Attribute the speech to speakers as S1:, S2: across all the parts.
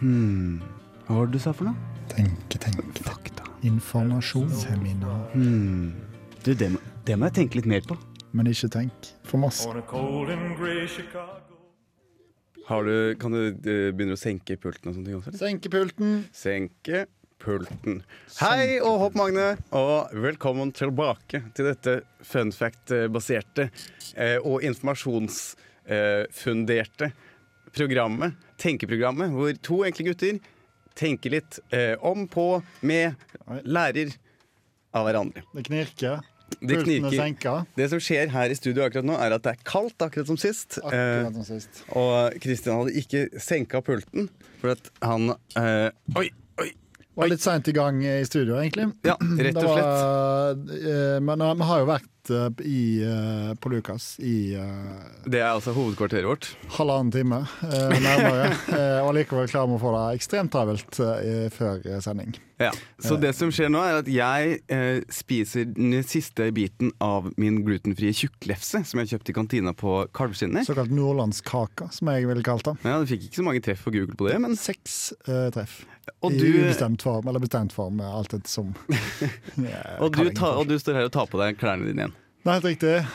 S1: Hmm. Hva var det du sa for noe?
S2: Tenke, tenke. Mm. tenke.
S1: Fakta.
S2: Informasjon, seminar.
S1: Hmm. Du, det, må- det må jeg tenke litt mer på.
S2: Men ikke tenk for masse.
S3: On a cold and gray Chicago.
S4: Har du, kan du eh, begynne å senke pulten og sånne ting også? Eller?
S2: Senke pulten.
S4: Senke pulten. Hei og hopp, Magne, og velkommen tilbake til dette fun fact-baserte eh, og informasjonsfunderte programmet, tenkeprogrammet, hvor to enkle gutter tenker litt eh, om, på, med, lærer av hverandre.
S2: Det knirker.
S4: Det
S2: Pulten er
S4: knirker.
S2: senka.
S4: Det som skjer her i studio akkurat nå, er at det er kaldt, akkurat som sist. Eh,
S2: Akkurat som sist.
S4: Og Kristian hadde ikke senka pulten, for at han eh, Oi, oi!
S2: Var litt seint i gang i studio, egentlig.
S4: Ja, rett og
S2: Det var, eh, men eh, vi har jo vært eh, i, eh, på Lukas i eh,
S4: Det er altså hovedkvarteret vårt.
S2: halvannen time eh, nærmere, eh, og likevel klarer vi å få det ekstremt travelt eh, før eh, sending.
S4: Ja. Så det som skjer nå, er at jeg eh, spiser den siste biten av min glutenfrie tjukklefse som jeg kjøpte i kantina på Kalvskinner.
S2: Såkalt nordlandskaka, som jeg ville kalt det.
S4: Ja, Du fikk ikke så mange treff på Google på det, men
S2: Seks eh, treff.
S4: Og
S2: I
S4: du-
S2: ubestemt form, eller bestemt form, eh, alt etter som. Ja,
S4: og du,
S2: kalling
S4: ta,
S2: for.
S4: og du står her og tar på deg klærne dine igjen.
S2: Det er helt riktig. Eh,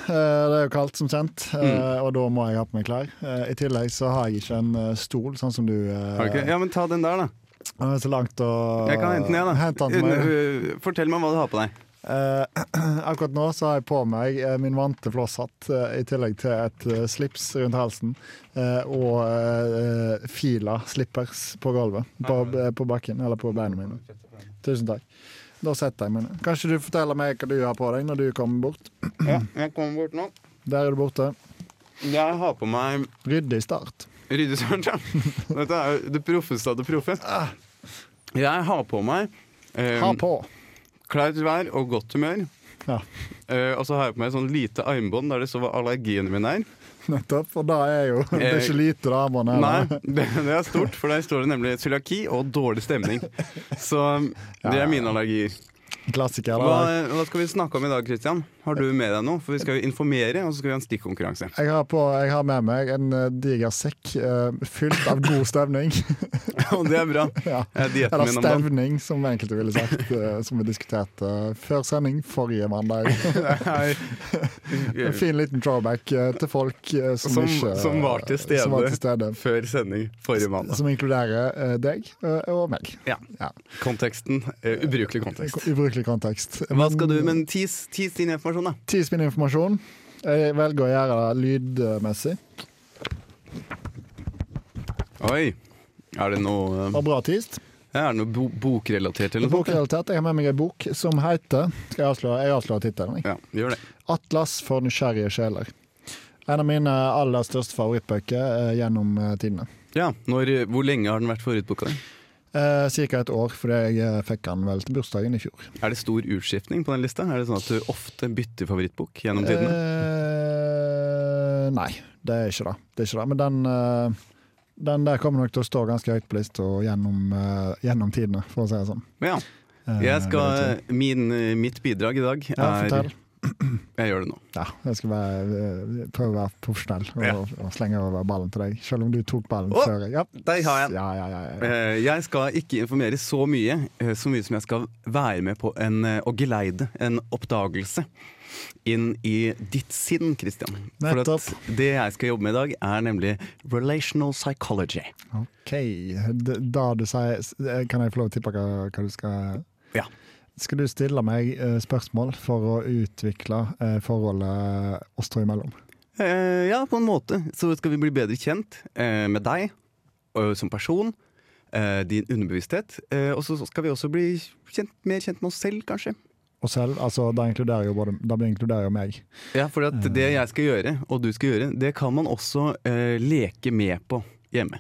S2: Det er jo kaldt, som kjent, eh,
S4: Mm.
S2: og da må jeg ha på meg klær. Eh, I tillegg så har jeg ikke en eh, stol, sånn som du eh,
S4: Har du ikke det? Ja, men ta den der, da.
S2: Den er så langt å
S4: Jeg kan hente den, jeg, da.
S2: Hent den til meg.
S4: Under- Fortell meg hva du har på deg.
S2: Eh, akkurat nå så har jeg på meg eh, min vante flosshatt, eh, i tillegg til et eh, slips rundt halsen, eh, og eh, fila slippers på gulvet, på,
S4: Ah.
S2: eh, på bakken, eller på beina mine. Tusen takk. Da setter jeg meg ned. Kanskje du forteller meg hva du har på deg når du kommer bort.
S4: Ja, jeg kommer bort nå.
S2: Der er du borte.
S4: Jeg har på meg
S2: Ryddig start.
S4: Ryddesøren, ja. Dette er jo det proffeste av det proffe. Jeg har på meg eh,
S2: Ha på.
S4: klart vær og godt humør.
S2: Ja,
S4: Eh, og så har jeg på meg sånn lite armbånd der det står hva allergiene mine er.
S2: nettopp. Og da er jo Det er ikke lite damer nede.
S4: Eh, Nei, det, det er stort, for der står det nemlig cøliaki og dårlig stemning. Så det er mine allergier.
S2: Klassiker.
S4: Hva, eh,
S2: Da.
S4: hva skal vi snakke om i dag, Christian? Har du med deg noe? For vi skal jo informere, og så skal vi ha en stikkonkurranse.
S2: Jeg har, på, jeg har med meg en eh, diger sekk eh, fylt av god stemning.
S4: Og det er bra.
S2: ja.
S4: Det er dieten
S2: Eller
S4: min om dagen.
S2: stevning, som enkelte ville sagt, eh, som vi diskuterte eh, før sending forrige mandag. En fin liten drawback eh, til folk eh, som,
S4: Som,
S2: ikke
S4: som var til
S2: som var til
S4: stede
S2: stede.
S4: før sending forrige mandag.
S2: Som inkluderer eh, deg eh, og meg.
S4: Ja.
S2: Ja.
S4: Konteksten. eh, ubrukelig kontekst.
S2: Ubrukelig kontekst.
S4: Hva skal du Men tis, tis din informasjon, da.
S2: Ti spinn informasjon. Jeg velger å gjøre det lydmessig.
S4: Oi. Er det noe,
S2: Og bra tist.
S4: eh, er det noe bo bokrelatert eller noe sånt?
S2: Bokrealitet. Jeg har med meg en bok som heter Skal jeg avsløre, jeg avslører tittelen? jeg.
S4: Ja, gjør det.
S2: 'Atlas for nysgjerrige sjeler'. En av mine aller største favorittbøker eh, gjennom eh, tidene.
S4: Ja, når, eh, Hvor lenge har den vært favorittboka di?
S2: Eh, Cirka et år, fordi jeg eh, fikk den vel til bursdagen i fjor.
S4: Er det stor utskiftning på den lista? Er det sånn at du ofte bytter favorittbok gjennom tidene?
S2: Eh, nei, det er ikke det. det, er ikke det. Men den, eh, den der kommer nok til å stå ganske høyt på lista gjennom, eh, gjennom tidene, for å si det sånn.
S4: Men ja.
S2: Eh,
S4: Jeg
S2: det
S4: skal, min, eh, mitt bidrag i dag
S2: Ja,
S4: er
S2: fortell.
S4: Jeg gjør det nå.
S2: Ja, jeg skal være, eh, prøve å være profesjonell og, og slenge over ballen til deg, selv om du tok ballen
S4: Å,
S2: før. jeg- Ja.
S4: der har jeg den.
S2: Ja, ja, ja, ja.
S4: Eh, Jeg skal ikke informere så mye, eh, så mye som jeg skal være med på en, eh, å geleide en oppdagelse inn i ditt sinn, Christian. For
S2: Nettopp.
S4: at det jeg skal jobbe med i dag, er nemlig relational psychology.
S2: OK. D- Da du sier s- eh, Kan jeg få lov til å tippe hva, hva du skal
S4: Ja.
S2: Skal du stille meg eh, spørsmål for å utvikle eh, forholdet oss to imellom?
S4: Eh, ja, på en måte. Så skal vi bli bedre kjent eh, med deg og som person, eh, din underbevissthet. Eh, og så så skal vi også bli kjent, mer kjent med oss selv, kanskje.
S2: Og selv, altså, da inkluderer jo, både, da inkluderer jo meg.
S4: Ja, For at det jeg skal gjøre, og du skal gjøre, det kan man også eh, leke med på hjemme.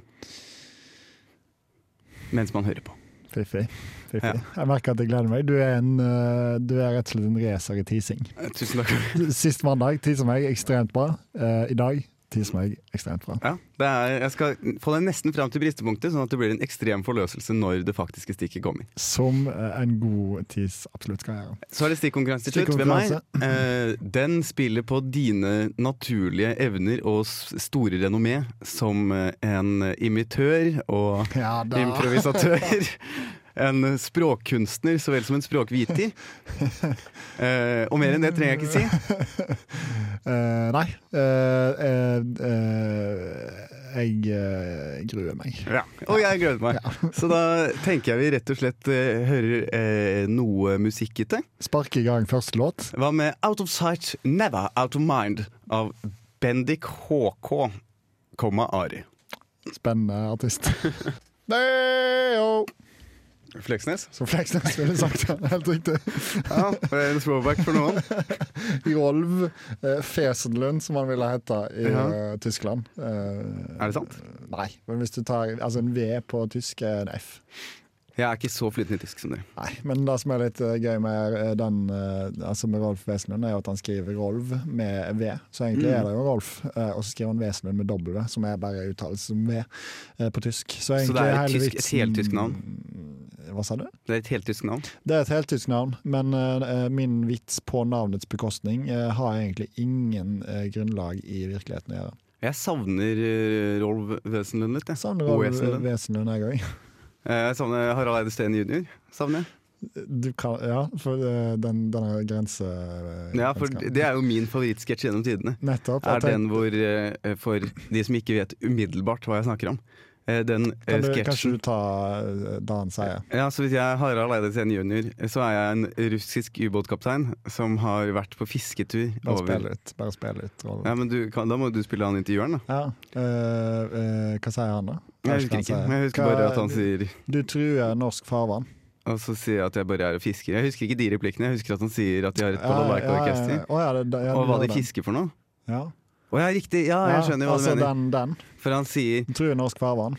S4: Mens man hører på.
S2: Fiffi. Fiffi.
S4: Ja.
S2: Jeg merker at jeg gleder meg. Du er, en, eh, du er rett og slett en racer i teasing.
S4: Eh, Tusen takk.
S2: Sist mandag tisa meg ekstremt bra. Eh, I dag teaser meg ekstremt bra.
S4: Ja, det er, jeg skal få deg nesten fram til bristepunktet, sånn at det blir en ekstrem forløselse når det faktiske stikket kommer.
S2: Som eh, en god tease absolutt skal gjøre.
S4: Så er det stikkonkurranse til slutt ved meg. Eh, den spiller på dine naturlige evner og s- store renommé som eh, en imitør og
S2: Ja da.
S4: improvisatør. En språkkunstner så vel som en språkviter. Eh, og mer enn det trenger jeg ikke si.
S2: Eh, nei. Eh, eh, eh, jeg eh, gruer meg.
S4: Ja, og jeg gleder meg. Så da tenker jeg vi rett og slett eh, hører eh, noe musikkete.
S2: Spark i gang første låt.
S4: Hva med Out of Sight, Never Out of Mind av Bendik HK, komma Ari.
S2: Spennende artist. Deo!
S4: Fleksnes?
S2: Som Fleksnes ville sagt. ja. Helt riktig.
S4: Ja, det er en throwback for noen.
S2: Rolv eh, Fesenlund, som han ville hete i
S4: Ja.
S2: eh, Tyskland. Eh,
S4: Er det sant?
S2: Nei, men hvis du tar altså en V på tysk er en F.
S4: Jeg er ikke så flytende i tysk som dere.
S2: Nei, men det som er litt eh, gøy med eh, den eh, altså med Rolf Wesenlund, er jo at han skriver Rolv med V, så
S4: Mm.
S2: egentlig er det jo Rolf. eh, Og så skriver han Wesenlund med W, som er bare uttalelse som V eh, på tysk. Så,
S4: Så
S2: egentlig
S4: det er et,
S2: hele
S4: tysk, et
S2: vitsen-
S4: heltysk navn.
S2: Hva sa du?
S4: Det er et heltysk navn.
S2: Det er et heltysk navn, men eh, min vits på navnets bekostning eh, har egentlig ingen eh, grunnlag i virkeligheten å gjøre.
S4: Jeg savner eh, Rolv Wesenlund litt. Jeg E
S2: Savner
S4: Og
S2: Rolf
S4: Wesenlund.
S2: Wesenlund jeg òg.
S4: Eh, Jeg savner Harald Eide Steen jr. Savner jeg.
S2: Du kan, ja, for eh, den, denne grense... eh,
S4: Ja, for det er jo min favorittsketsj gjennom tidene.
S2: Nettopp.
S4: er
S2: jeg tenkte-
S4: den hvor, eh, for de som ikke vet umiddelbart hva jeg snakker om, eh, den eh,
S2: Kan du, kanskje
S4: sketsjen
S2: du tar eh, det han sier?
S4: ja, så Hvis jeg er Harald Eide Steen jr., så er jeg en russisk ubåtkaptein som har vært på fisketur
S2: Bare
S4: over
S2: spill ut. Bare spill ut rollen.
S4: ja, men du, kan, Da må du spille han intervjueren, da.
S2: Ja. eh, eh, hva sier han, da?
S4: Jeg husker ikke, men jeg husker bare at han sier
S2: Du truer norsk farvann.
S4: Og så sier jeg at jeg bare er og fisker. Jeg husker ikke de replikkene, jeg husker at han sier at de har et balalaika-orkester.
S2: Å, ja, det- det- ja,
S4: Og hva de
S2: det var den.
S4: fisker for noe.
S2: Ja.
S4: Å ja, riktig! Ja, jeg skjønner hva
S2: altså,
S4: du mener.
S2: Den, den.
S4: For han sier
S2: Truer norsk farvann.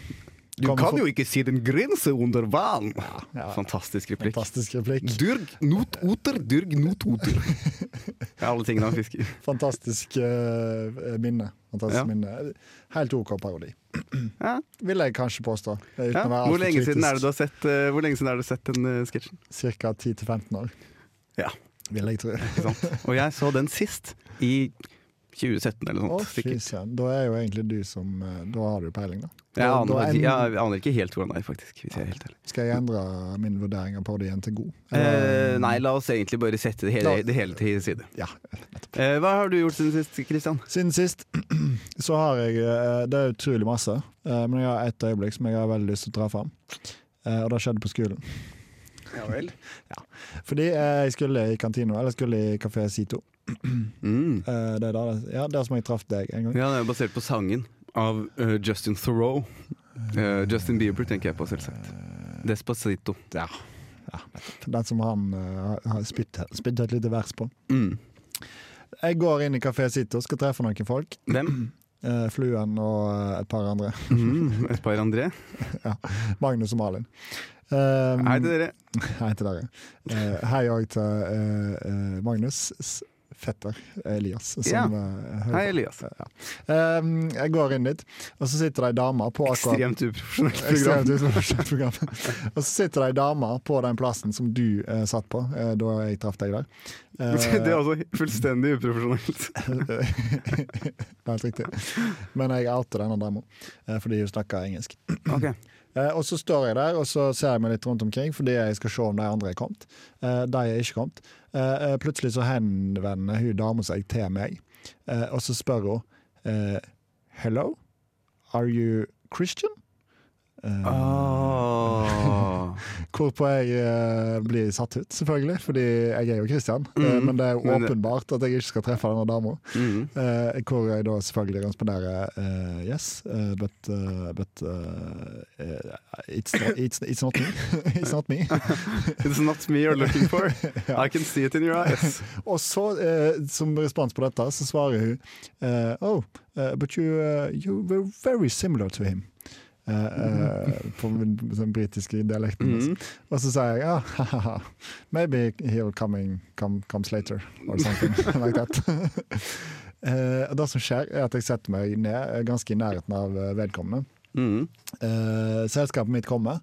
S4: Du
S2: Kommer
S4: kan
S2: for-
S4: jo ikke si den grense under vann!
S2: ja.
S4: Fantastisk replikk.
S2: Fantastisk replikk.
S4: Durg not oter, durg not oter. Det er alle tingene han fisker.
S2: Fantastisk eh, minne. Fantastisk
S4: Ja.
S2: minne. Helt OK parodi.
S4: Ja.
S2: Vil jeg kanskje påstå. Uten
S4: Ja.
S2: å være
S4: Hvor
S2: altfor
S4: lenge siden er det
S2: kritisk.
S4: du har sett, eh, hvor lenge siden er det du har sett den eh, sketsjen?
S2: Cirka 10-15 år,
S4: Ja,
S2: vil jeg tro.
S4: ikke sant? Og jeg så den sist, i 2017 eller
S2: Å,
S4: noe sånt.
S2: fy
S4: sikkert.
S2: søren. Da er jo egentlig du som eh, Da har du peiling, da.
S4: Jeg
S2: Da-
S4: aner,
S2: da
S4: faktisk-
S2: en-
S4: jeg aner ikke helt hvordan det er, faktisk. Hvis jeg er helt ærlig.
S2: Skal jeg endre min vurdering av parodien til god?
S4: Eh, nei, la oss egentlig bare sette det hele,
S2: La-
S4: det hele til side.
S2: Ja.
S4: Eh, hva har du gjort siden sist, Kristian?
S2: Siden sist så har jeg eh, Det er utrolig masse, eh, men jeg har ett øyeblikk som jeg har veldig lyst til å dra fram. Eh, Og det skjedde på skolen.
S4: Ja vel.
S2: Fordi eh, jeg skulle i kantina, eller jeg skulle i Kafé Sito.
S4: Mm.
S2: Eh, Det er der, ja, der som jeg traff deg en gang.
S4: Ja, det er basert på sangen av eh, Justin Thoreau. Eh, Justin Bieber tenker jeg på, selvsagt. Despacito.
S2: Ja. Den som han eh, har spytt spytt et lite vers på.
S4: Mm.
S2: Jeg går inn i Kafé Sito, skal treffe noen folk.
S4: Hvem?
S2: eh, Fluen og eh, et par andre.
S4: Mm. Et par André.
S2: Magnus og Malin. Um,
S4: Hei til dere.
S2: Hei til dere. Eh, hei òg til eh, eh, Magnus s- fetter Elias. Som,
S4: Ja.
S2: eh, hører
S4: Hei,
S2: på.
S4: Elias.
S2: Ehm, jeg går inn dit, og så sitter det ei dame på akkurat
S4: Ekstremt uprofesjonelt program.
S2: Ekstremt utmerket program. og så sitter det ei dame på den plassen som du eh, satt på eh, da jeg traff deg der. Eh,
S4: Det er altså fullstendig uprofesjonelt.
S2: Helt riktig. Men jeg outer denne dama eh, fordi hun snakker engelsk.
S4: Ok.
S2: Eh, Og så står jeg der og så ser jeg meg litt rundt omkring fordi jeg skal se om de andre er kommet. Eh, De er ikke kommet. Eh, eh, Plutselig så henvender hun dama seg til meg, eh, og så spør hun eh, Hello, are you Christian? Eh,
S4: Ah.
S2: Hvorpå jeg eh, blir satt ut, selvfølgelig, fordi jeg er jo Christian. Eh,
S4: Mhm.
S2: Men det er jo
S4: Men det-
S2: åpenbart at jeg ikke skal treffe denne dama.
S4: Mm.
S2: Eh, hvor jeg da selvfølgelig responderer eh, yes, eh, but, eh, but eh, eh, it's, not, it's, it's not me. it's not me.
S4: It's not me you're looking for. I can see it in your eyes.
S2: Og så, eh, som respons på dette, så svarer hun eh, Oh, eh, but you, eh, you were very similar to him. Eh, eh, på min- den britiske dialekten. altså.
S4: Mhm.
S2: Og så sier jeg ja, haha, maybe he'll coming, come, comes later, or something like that. Eh, det som skjer, er at jeg setter meg ned eh, ganske i nærheten av eh, vedkommende.
S4: Mm.
S2: Eh, selskapet mitt kommer.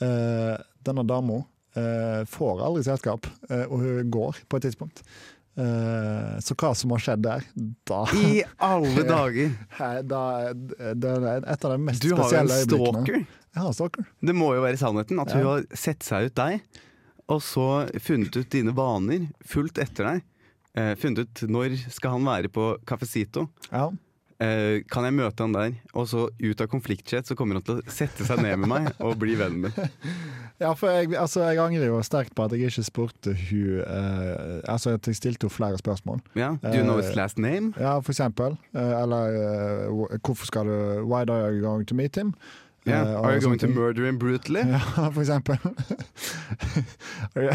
S2: Eh, denne dama eh, får aldri selskap, eh, og hun går på et tidspunkt. Eh, så hva som har skjedd der, da
S4: I alle dager!
S2: Hei, da, eh, det er et av de mest
S4: Du har jo en
S2: spesielle øyeblikkene.
S4: stalker.
S2: Jeg har en stalker.
S4: Det må jo være sannheten. At hun
S2: Ja.
S4: har sett seg ut deg, og så funnet ut dine vaner, fulgt etter deg. Eh, funnet ut når skal han være på Cafecito.
S2: Ja.
S4: Eh, kan jeg møte han der? Og så ut av konfliktchat så kommer han til å sette seg ned med meg og bli vennen min.
S2: Ja, for jeg, altså, jeg angrer jo sterkt på at jeg ikke spurte hun eh, Altså at jeg stilte henne flere spørsmål.
S4: Ja, Do you know his last name?
S2: Ja, for eksempel. eh, eller eh, wh- hvorfor skal du Why are you going to meet him?
S4: Yeah.
S2: Eh, og
S4: Are you going
S2: sånne
S4: to
S2: ting.
S4: murder him brutally?
S2: Ja, for eksempel. are, you,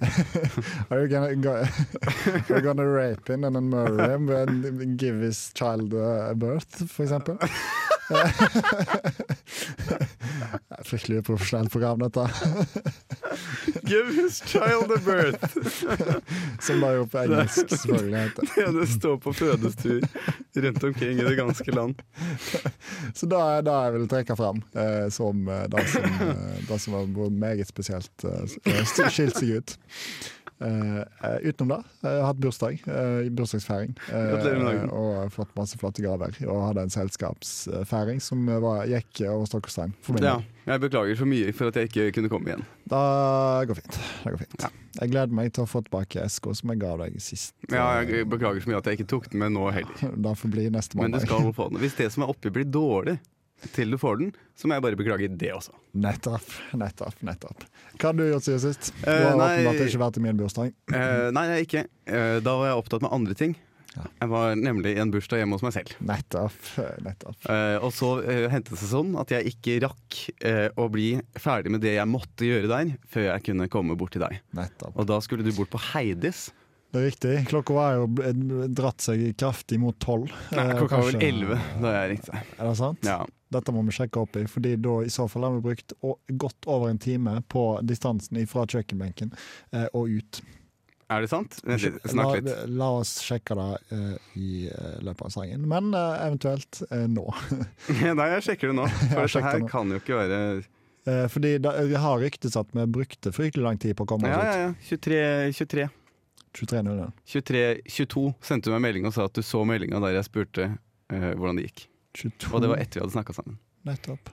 S2: are, you gonna go, are you gonna rape him and then murder him and give his child uh, birth, for eksempel? Fryktelig uprofesjonelt program, dette.
S4: Give his child a birth!
S2: Som da jo på engelsk selvfølgelig heter.
S4: Ja, det står på fødestuer rundt omkring i det ganske land.
S2: Så da er det jeg vil trekke fram eh, som eh, det som, eh, det som har vært meget spesielt. Eh, skilt seg ut. Eh, eh, utenom det, jeg har hatt bursdag, eh, bursdagsfeiring. Eh,
S4: Gratulerer med dagen.
S2: og fått masse flotte gaver. Og hadde en selskapsfeiring som eh, var, gikk over stokk og stein. for min
S4: Ja,
S2: del.
S4: jeg beklager så mye for at jeg ikke kunne komme igjen.
S2: Det går fint. Det går fint. Jeg gleder meg til å få tilbake eska som jeg ga deg sist.
S4: Ja, jeg beklager så mye at jeg ikke tok den med nå heller.
S2: Det får bli neste
S4: Men du
S2: mandag.
S4: skal få den. Hvis det som er oppi blir dårlig til du får den, så må jeg bare beklage det også.
S2: Nettopp, nettopp, nettopp. Hva har du gjort siden sist? Du
S4: Eh,
S2: har
S4: nei-
S2: åpenbart ikke vært i min bursdag.
S4: Eh, nei, jeg ikke. Eh, da var jeg opptatt med andre ting. Jeg var nemlig i en bursdag hjemme hos meg selv.
S2: Nettopp. nettopp.
S4: Eh, og så eh, hendte det seg sånn at jeg ikke rakk eh, å bli ferdig med det jeg måtte gjøre der, før jeg kunne komme bort til deg.
S2: nettopp.
S4: Og da skulle du bort på Heidis.
S2: Det er riktig. Klokka var jo bl- eh, dratt seg kraftig mot tolv.
S4: Nei,
S2: Eh,
S4: klokka var vel
S2: kanskje-
S4: elleve da jeg ringte deg.
S2: Er det sant?
S4: Ja.
S2: Dette må vi sjekke opp i, Fordi da i så fall har vi brukt å- godt over en time på distansen fra kjøkkenbenken eh, og ut.
S4: Er det sant? Vent litt,
S2: La,
S4: Snakk litt.
S2: la oss sjekke det eh, i eh, løpet av sangen, men eh, eventuelt eh, nå.
S4: Nei, jeg sjekker det nå. For dette
S2: sjekk det
S4: her
S2: nå.
S4: kan jo ikke være
S2: Eh, fordi da, jeg har ryktes at vi brukte fryktelig lang tid på å komme
S4: Ja, ja,
S2: oss
S4: ja.
S2: ut.
S4: 23, 23.
S2: 23.00.
S4: 23.22 sendte du meg en melding og sa at du så meldinga der jeg spurte eh, hvordan det gikk.
S2: 22.
S4: Og det var etter vi hadde snakka sammen.
S2: Nettopp.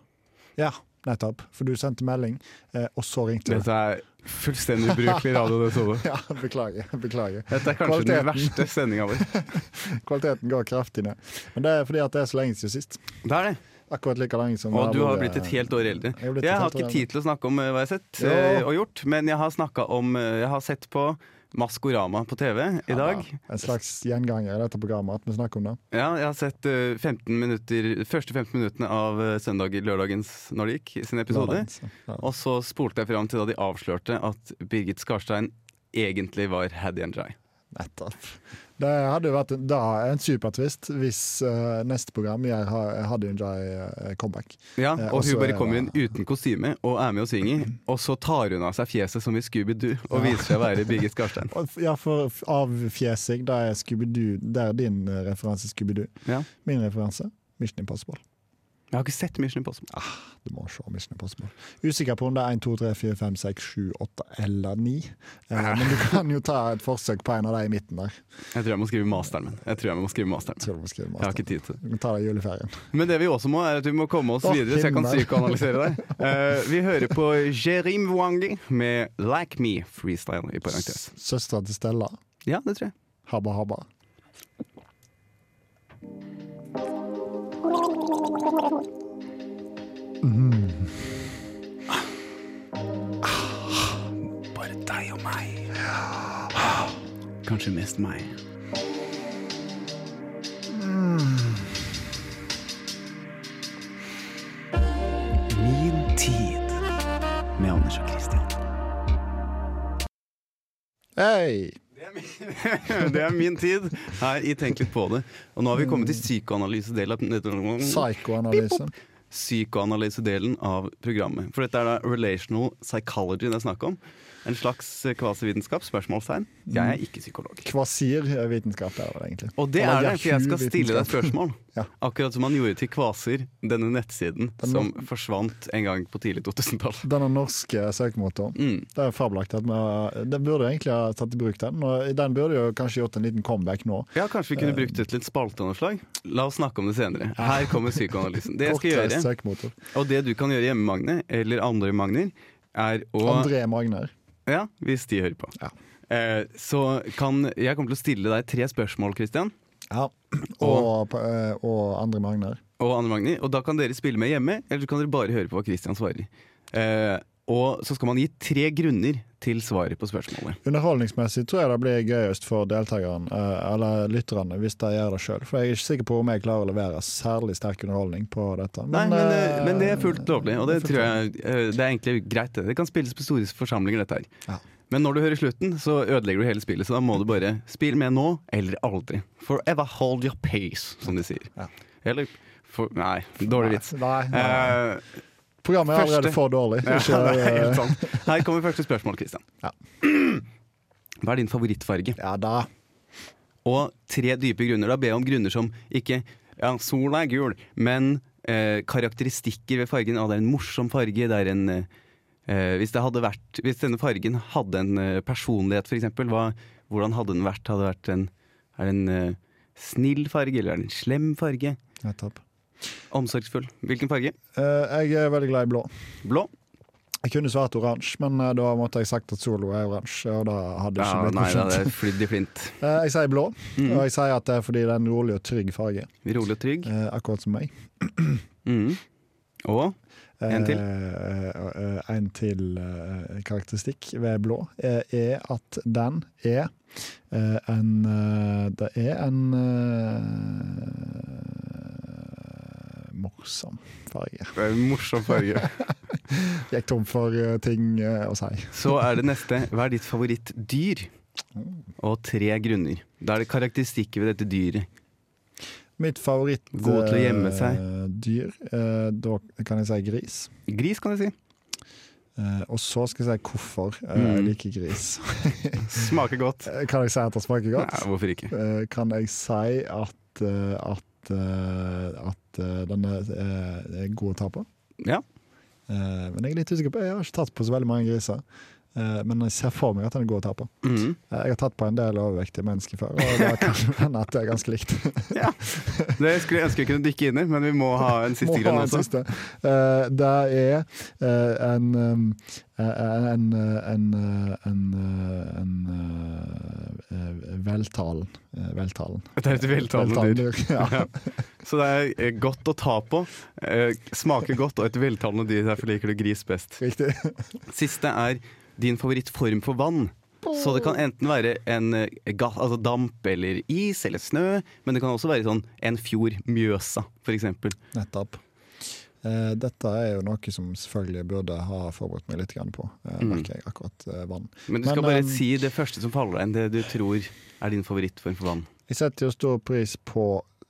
S2: Ja, nettopp. For du sendte melding, eh, og så ringte du.
S4: Dette er fullstendig ubrukelig radio, det Tove.
S2: Ja, beklager. beklager.
S4: Dette er kanskje
S2: Kvaliteten.
S4: den verste sendinga vår.
S2: Kvaliteten går kraftig ned. Men det er fordi at det er så lenge siden sist.
S4: Det er det.
S2: Akkurat like lenge som
S4: Og
S2: det
S4: du har
S2: vært-
S4: blitt et helt år eldre.
S2: Jeg har blitt et
S4: Jeg har
S2: helt år
S4: ikke tid til å snakke om eh, hva jeg har sett
S2: Jo.
S4: eh, og gjort, men jeg har snakka om eh, Jeg har sett på Maskorama på TV i dag.
S2: Ja, en slags gjenganger i dette programmet at vi snakker om det.
S4: Ja, jeg har sett eh, 15 minutter, første 15 minuttene av eh, søndag, lørdagens Når det gikk, sin episode.
S2: Ja.
S4: Og så spolte jeg fram til da de avslørte at Birgit Skarstein egentlig var Haddy and Jai.
S2: Nettopp. Det hadde jo vært en, da en supertvist hvis eh, neste program jeg har, hadde en Jai eh, comeback.
S4: Ja,
S2: Ja,
S4: og
S2: og så
S4: hun bare
S2: er
S4: kommer inn
S2: det-
S4: uten kostyme og er med og synger. Og så tar hun av seg fjeset som i Scooby-Doo og viser seg å være Birgit Skarstein.
S2: Og f- Ja, for avfjesing, det er Scooby-Doo. Det er din eh, referanse, Scooby-Doo.
S4: Ja.
S2: Min referanse, Mission Impossible.
S4: Jeg har ikke sett Mission Impossible.
S2: Ah. Du må se Mission Impossible. Usikker på om det er 1, 2, 3, 4, 5, 6, 7, 8 eller 9. Eh, men du kan jo ta et forsøk på en av de i midten der.
S4: Jeg tror jeg må skrive masteren min. Jeg tror jeg må skrive masteren min.
S2: Skal du få skrive
S4: Jeg har
S2: master.
S4: ikke tid til det.
S2: Vi tar det i juleferien.
S4: Men det vi også må, er at vi må komme oss
S2: Å,
S4: videre, så jeg kan
S2: himmel.
S4: psykoanalysere deg. Eh, vi hører på Jerim Wangi med 'Like Me' freestyle i parentes.
S2: Søstera til Stella,
S4: Ja, det tror jeg.
S2: Habba Habba.
S4: Bare deg og meg. Kanskje mest meg. Min tid med Anders og Christian.
S2: Hei!
S4: Det er min tid her i Tenk litt på det. Og nå har vi kommet til psykoanalysedelen av,
S2: Psykoanalyse.
S4: psykoanalysedelen av programmet. For dette er da relational psychology det er snakk om. Eh, En slags eh, kvasivitenskap? Spørsmålstegn. Jeg er ikke psykolog.
S2: Kvasir eh, vitenskap er det egentlig.
S4: Og det er
S2: Eller
S4: det, for jeg skal stille deg et
S2: Yahoo-vitenskap.
S4: spørsmål.
S2: Ja.
S4: Akkurat som han gjorde til Kvaser, denne nettsiden
S2: Den
S4: som forsvant en gang på tidlig 2000-tall.
S2: Denne norske søkemotoren.
S4: Mm.
S2: Det er fabelaktig. at vi har- Den burde jo egentlig ha tatt i bruk den. Og den burde jo kanskje gjort en liten comeback nå.
S4: Ja, Kanskje
S2: Eh.
S4: vi kunne brukt det til et spalteanslag? La oss snakke om det senere. Her kommer psykoanalysen. Det jeg skal
S2: Kortreist
S4: gjøre,
S2: søkemotor.
S4: og det du kan gjøre hjemme, Magne, eller andre Magner, er å
S2: André Magner.
S4: Ja, hvis de hører på.
S2: Ja.
S4: Eh, så kan Jeg kommer til å stille deg tre spørsmål, Christian.
S2: Ja. Og, eh, og André Magner.
S4: og Anne Magni. Og da kan dere spille med hjemme, eller så kan dere bare høre på hva Christian svarer. Eh, og så skal man gi tre grunner til svaret på spørsmålet.
S2: Underholdningsmessig tror jeg det blir gøyest for deltakeren, eh, eller lytterne, hvis de gjør det sjøl. For jeg er ikke sikker på om jeg klarer å levere særlig sterk underholdning på dette.
S4: Nei, men, eh,
S2: eh,
S4: men det er fullt lovlig, og det
S2: fullt
S4: tror jeg eh, Det er egentlig greit, det. Det kan spilles på store forsamlinger, dette her.
S2: Ja.
S4: Men når du hører slutten, så ødelegger du hele spillet, så da må du bare spille med nå eller aldri. Forever hold your pace, som de sier.
S2: Ja.
S4: Eller for, Nei, dårlig vits.
S2: Nei, nei.
S4: Eh,
S2: Programmet er allerede
S4: første-
S2: for dårlig.
S4: Ja,
S2: Ikke,
S4: det er
S2: eh,
S4: helt sant. Her kommer første spørsmål, Christian.
S2: Ja.
S4: Hva er din favorittfarge?
S2: ja da.
S4: Og tre dype grunner. Da ber jeg om grunner som ikke Ja, sola er gul, men eh, karakteristikker ved fargen. Ah, det er en morsom farge. Det er en eh, eh, hvis, det hadde vært, hvis denne fargen hadde en eh, personlighet, f.eks., hvordan hadde den vært? Hadde det vært en, er det en eh, snill farge, eller er det en slem farge?
S2: Nettopp.
S4: Omsorgsfull. Hvilken farge?
S2: Eh, jeg er veldig glad i blå.
S4: Blå?
S2: Jeg kunne svart oransje, men eh, da måtte jeg sagt at Solo er oransje. Og da hadde det ikke
S4: Ja,
S2: blitt
S4: nei, Mm. da
S2: noe
S4: hadde
S2: skjønt.
S4: jeg flydd i flint.
S2: Eh, Jeg sier blå, og jeg sier at det er fordi det er en rolig og trygg farge.
S4: Rolig og trygg.
S2: eh, Akkurat som meg.
S4: Mm. Og En til.
S2: Eh, eh, En til eh, karakteristikk ved blå eh, er at den er eh, en eh, Det er en eh, morsom farge.
S4: Det er en morsom farge.
S2: Gikk tom for eh, ting eh, å si.
S4: Så er det neste. Hva er ditt favorittdyr? Og tre grunner. Da er det karakteristikker ved dette dyret.
S2: Mitt favoritt
S4: God til å gjemme seg.
S2: eh, dyr, eh, da kan jeg si gris.
S4: Gris, kan jeg si.
S2: Eh, og så skal jeg si hvorfor eh, jeg
S4: Mm.
S2: liker gris.
S4: Smaker godt.
S2: Eh, kan jeg si at det smaker
S4: Nei,
S2: godt?
S4: hvorfor ikke?
S2: Eh, kan jeg si at, eh, at, eh, at eh, den er, eh, er god å ta på?
S4: Ja.
S2: Eh, men jeg er litt usikker på Jeg har ikke tatt på så veldig mange griser. Eh, men jeg ser for meg at den er god å ta på.
S4: Mhm.
S2: Eh, jeg har tatt på en del overvektige mennesker før, og da kan det hende at det er ganske likt.
S4: ja. Det skulle jeg ønske vi kunne dykke inn i, men vi må ha en siste
S2: Må
S4: grunn
S2: ha en
S4: også.
S2: siste. Eh, det er eh, en um, eh, en, eh, en, eh, en, eh, en eh, eh, veltalen eh, veltalen.
S4: Det er et veltalende
S2: Veltalen
S4: dyr.
S2: dyr, ja.
S4: Ja. Så det er eh, godt å ta på, eh, smaker godt og et veltalende dyr. Derfor liker du gris best.
S2: Riktig.
S4: Siste er din favorittform for vann. Så det kan enten være en eh, ga, altså damp eller is eller snø, men det kan også være sånn en fjord, Mjøsa f.eks.
S2: Nettopp. Eh, dette er jo noe som selvfølgelig burde ha forberedt meg litt grann på, eh,
S4: Mm.
S2: merker jeg. Akkurat eh, vann.
S4: Men du skal
S2: Men,
S4: bare
S2: ehm,
S4: si det første som faller deg inn, det du tror er din favorittform for vann.
S2: Jeg setter jo stor pris på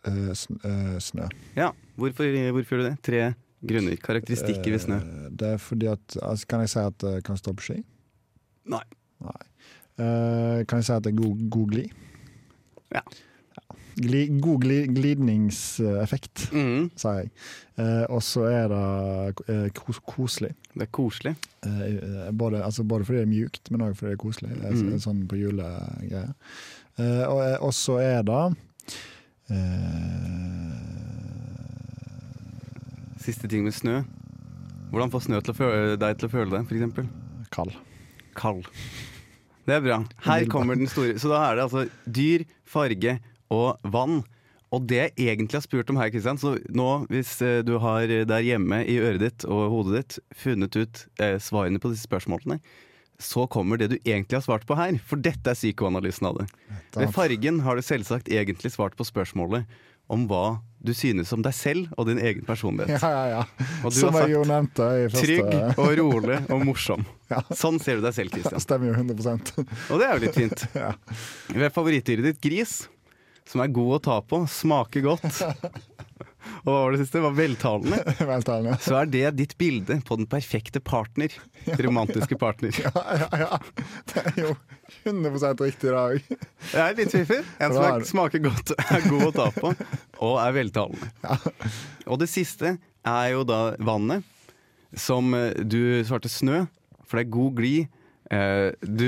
S2: eh, sn eh, snø.
S4: Ja, hvorfor, hvorfor gjør du det? Tre grunner. Karakteristikker ved snø.
S2: Eh, Det er fordi at altså, Kan jeg si at jeg kan stå på ski?
S4: Nei.
S2: Nei. Eh, kan jeg si at det er god, god glid?
S4: Ja.
S2: Gli, god gli, glidningseffekt,
S4: Mm,
S2: sier jeg. Eh, og så er det eh, kos, koselig.
S4: det er koselig.
S2: Eh, både, altså både fordi det er mjukt, men òg fordi det er koselig. Eh, så-
S4: Mm.
S2: Sånn på julegreier. Eh, og, eh, og så er det eh,
S4: Siste ting med snø. Hvordan få snø til å føle, deg til å føle deg, f.eks.?
S2: kald.
S4: Kald. Det er bra. Her kommer den store. Så da er det altså dyr, farge og vann. Og det jeg egentlig har spurt om her, Kristian, så nå hvis eh, du har eh, der hjemme i øret ditt og hodet ditt funnet ut eh, svarene på disse spørsmålene, så kommer det du egentlig har svart på her. For dette er psykoanalysen av det. Ved fargen har du selvsagt egentlig svart på spørsmålet om hva du synes om deg selv og din egen personlighet.
S2: Ja, ja, ja.
S4: Og du
S2: Som
S4: har
S2: jeg jo
S4: sagt
S2: nevnte i
S4: trygg
S2: første
S4: og rolig og morsom.
S2: Ja.
S4: Sånn ser du deg selv, Kristian.
S2: Stemmer jo 100
S4: Og det er jo litt fint.
S2: Ja.
S4: Ved favorittdyret ditt, gris, som er god å ta på, smaker godt. Og hva var det siste? Det var veltalende.
S2: Veltalende.
S4: Så er det ditt bilde på den perfekte partner. Romantiske partner.
S2: Ja, ja, ja. Det er jo 100 riktig i dag.
S4: Jeg er litt fiffig. En som er, smaker godt, er god å ta på, og er veltalende. Og det siste er jo da vannet, som eh, du svarte snø, for det er god glid. Eh, Du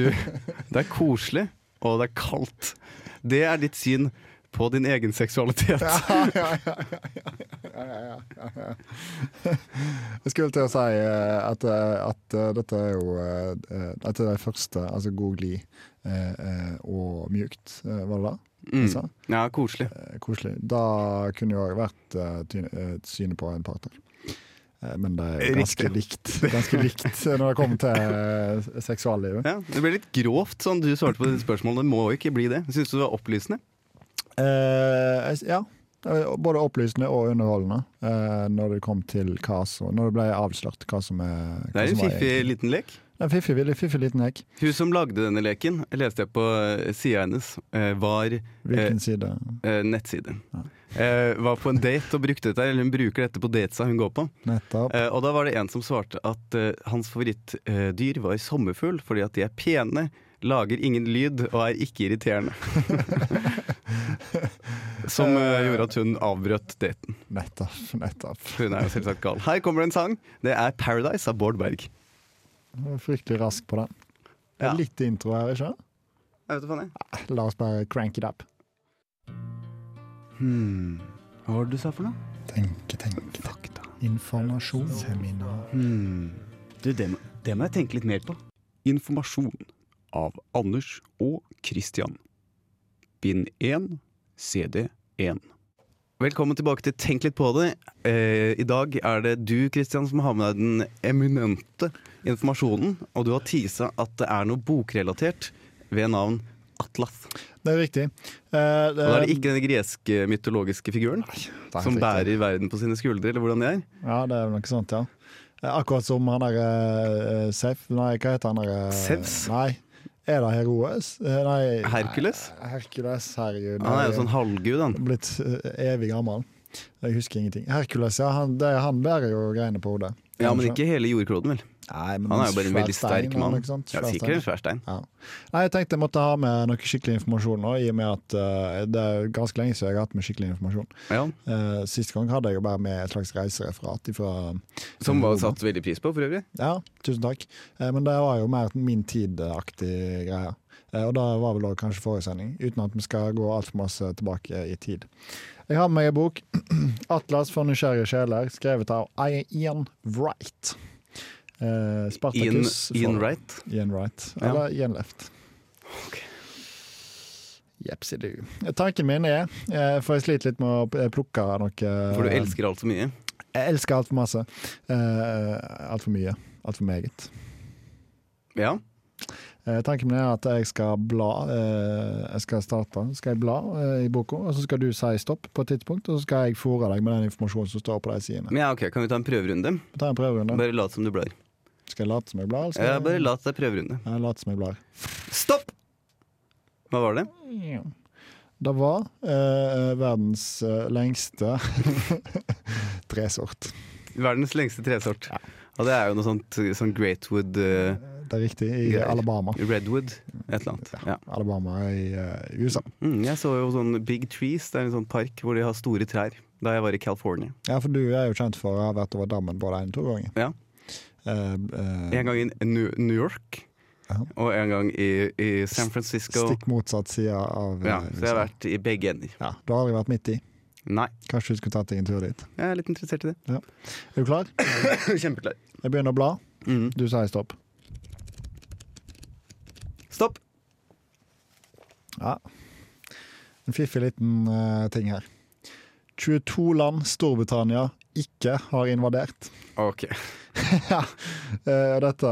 S4: Det er koselig, og det er kaldt. Det er ditt syn på din egen seksualitet.
S2: Jeg skulle til å si eh, at, eh, at eh, dette er jo eh, eh, At det er det første, altså god glid eh, eh, og mjukt, eh, var det det? jeg sa?
S4: Mm. Ja, koselig.
S2: Eh, Koselig. Da kunne jo òg vært eh, ty- eh, synet på en partner. Eh, Men det er jo ganske
S4: Riktig.
S2: likt, ganske likt når det kommer til eh, seksuallivet.
S4: Ja, det ble litt grovt sånn du svarte på det spørsmålet. Det må jo ikke bli det. Syns du det var opplysende?
S2: Eh, jeg- ja. Eh, Både opplysende og underholdende eh, når det kom til hva som Når det ble avslørt hva som er hva
S4: Det er en
S2: som var
S4: fiffig
S2: egentlig-
S4: liten lek.
S2: Det er en fiffig, veldig fiffig liten lek.
S4: Hun som lagde denne leken, leste jeg på sida hennes, eh, var Eh,
S2: Hvilken side?
S4: eh, nettside. Eh, Var på en date og brukte dette, eller hun bruker dette på datesa hun går på.
S2: Nettopp.
S4: Eh, Og da var det en som svarte at eh, hans favorittdyr var sommerfugl fordi at de er pene, lager ingen lyd og er ikke irriterende. som eh, gjorde at hun avbrøt daten.
S2: Nettopp. nettopp.
S4: Hun er jo selvsagt gal. Her kommer det en sang. Det er 'Paradise' av Bård Berg.
S2: Jeg var Fryktelig rask på den. Det er
S4: Ja.
S2: litt intro her, ikke Eh,
S4: Jeg vet hva faen jeg.
S2: La oss bare crank it up.
S1: Hmm. Hva var det du sa for noe?
S2: Tenke, tenke. Fakta. Informasjon. Seminar.
S1: Hmm. Du, det, må- det må jeg tenke litt mer på.
S5: Informasjon av Anders og Christian. Bind 1, CD 1.
S4: Velkommen tilbake til Tenk litt på det. Eh, I dag er det du Kristian, som har med deg den eminente informasjonen. Og du har tisa at det er noe bokrelatert ved navn Atlas.
S2: Det er riktig. Eh,
S4: Og da er det ikke den greske mytologiske figuren som bærer verden på sine skuldre, eller hvordan det er.
S2: Ja, det er vel noe sånt, ja. Eh, Akkurat som han der eh, Sef Nei, hva heter han der? eh,
S4: Zeus?
S2: Nei. Er det Heroes? Eh, Nei.
S4: Herkules?
S2: Nei, Herkules, herregud.
S4: Han er jo
S2: Nei,
S4: sånn halvgud, han.
S2: Blitt eh, evig gammel. Jeg husker ingenting. Herkules, ja, han, det, han bærer jo greiene på hodet.
S4: Ja, men ikke hele jordkloden, vel.
S2: Nei, men
S4: Han er jo bare en
S2: svær
S4: veldig
S2: stein,
S4: sterk
S2: han,
S4: mann.
S2: ikke sant?
S4: Ja,
S2: Svær
S4: sikkert en
S2: stein.
S4: svær stein.
S2: Ja. Nei, jeg tenkte jeg måtte ha med noe skikkelig informasjon nå, i og med at eh, det er ganske lenge siden jeg har hatt med skikkelig informasjon.
S4: Ja,
S2: Uh, Sist gang hadde jeg jo bare med et slags reisereferat fra Mm.
S4: som var satt veldig pris på, for øvrig.
S2: Ja, tusen takk. Eh, men det var jo mer min tid-aktig greie. Eh, og det var vel også kanskje forrige sending, uten at vi skal gå altfor masse tilbake i tid. Jeg har med meg en bok, 'Atlas for nysgjerrige sjeler', skrevet av Ian Wright. Eh,
S4: Ian,
S2: Spartacus for-
S4: Ian Wright.
S2: Ian Wright.
S4: Ja.
S2: Eller Ian Left. Jepsi du. Tanken min er, eh, for jeg sliter litt med å p- plukke noe eh,
S4: For du elsker alt så mye.
S2: Jeg elsker altfor masse. Eh, altfor mye. Altfor meget.
S4: Ja.
S2: Eh, tanken min er at jeg skal bla. Eh, jeg skal starte, skal jeg bla eh, i boka, og så skal du si stopp på et tidspunkt, og så skal jeg fòre deg med den informasjonen som står på de sidene.
S4: Men ja, ok, Kan vi ta en prøverunde?
S2: Ta en prøverunde.
S4: Bare lat som du blar.
S2: Skal jeg late som jeg blar? eller skal
S4: Ja,
S2: jeg-
S4: bare lat deg prøverunde.
S2: Ja, jeg later som jeg blar.
S4: Stopp! Hva var det?
S2: Det var eh, verdens eh, lengste tresort.
S4: Verdens lengste tresort. Og det er jo noe sånt sånn Greatwood, eh,
S2: Det er riktig. I
S4: Greier.
S2: Alabama.
S4: Redwood, et eller annet. Ja.
S2: Alabama i eh, USA.
S4: Mm, jeg så jo sånn Big Trees, det er en sånn park hvor de har store trær. Da jeg var i California.
S2: Ja, for du er jo kjent for å ha vært over dammen både én og to ganger.
S4: Ja.
S2: Eh, eh,
S4: En gang i New New York,
S2: Ja.
S4: og en gang i, i San Francisco.
S2: Stikk motsatt side av eh,
S4: Ja, så jeg har vært i begge ender.
S2: Ja, du har aldri vært midt i.
S4: Mm, liksom. Nei,
S2: Kanskje du skulle tatt deg en tur dit.
S4: jeg er litt interessert i det.
S2: Er du klar?
S4: Kjempeklar.
S2: Jeg begynner å bla.
S4: Mm.
S2: Du sier stopp.
S4: Stopp!
S2: Ja. En fiffig liten eh, ting her. 22 land Storbritannia ikke har invadert.
S4: Ok.
S2: Ja, eh, og dette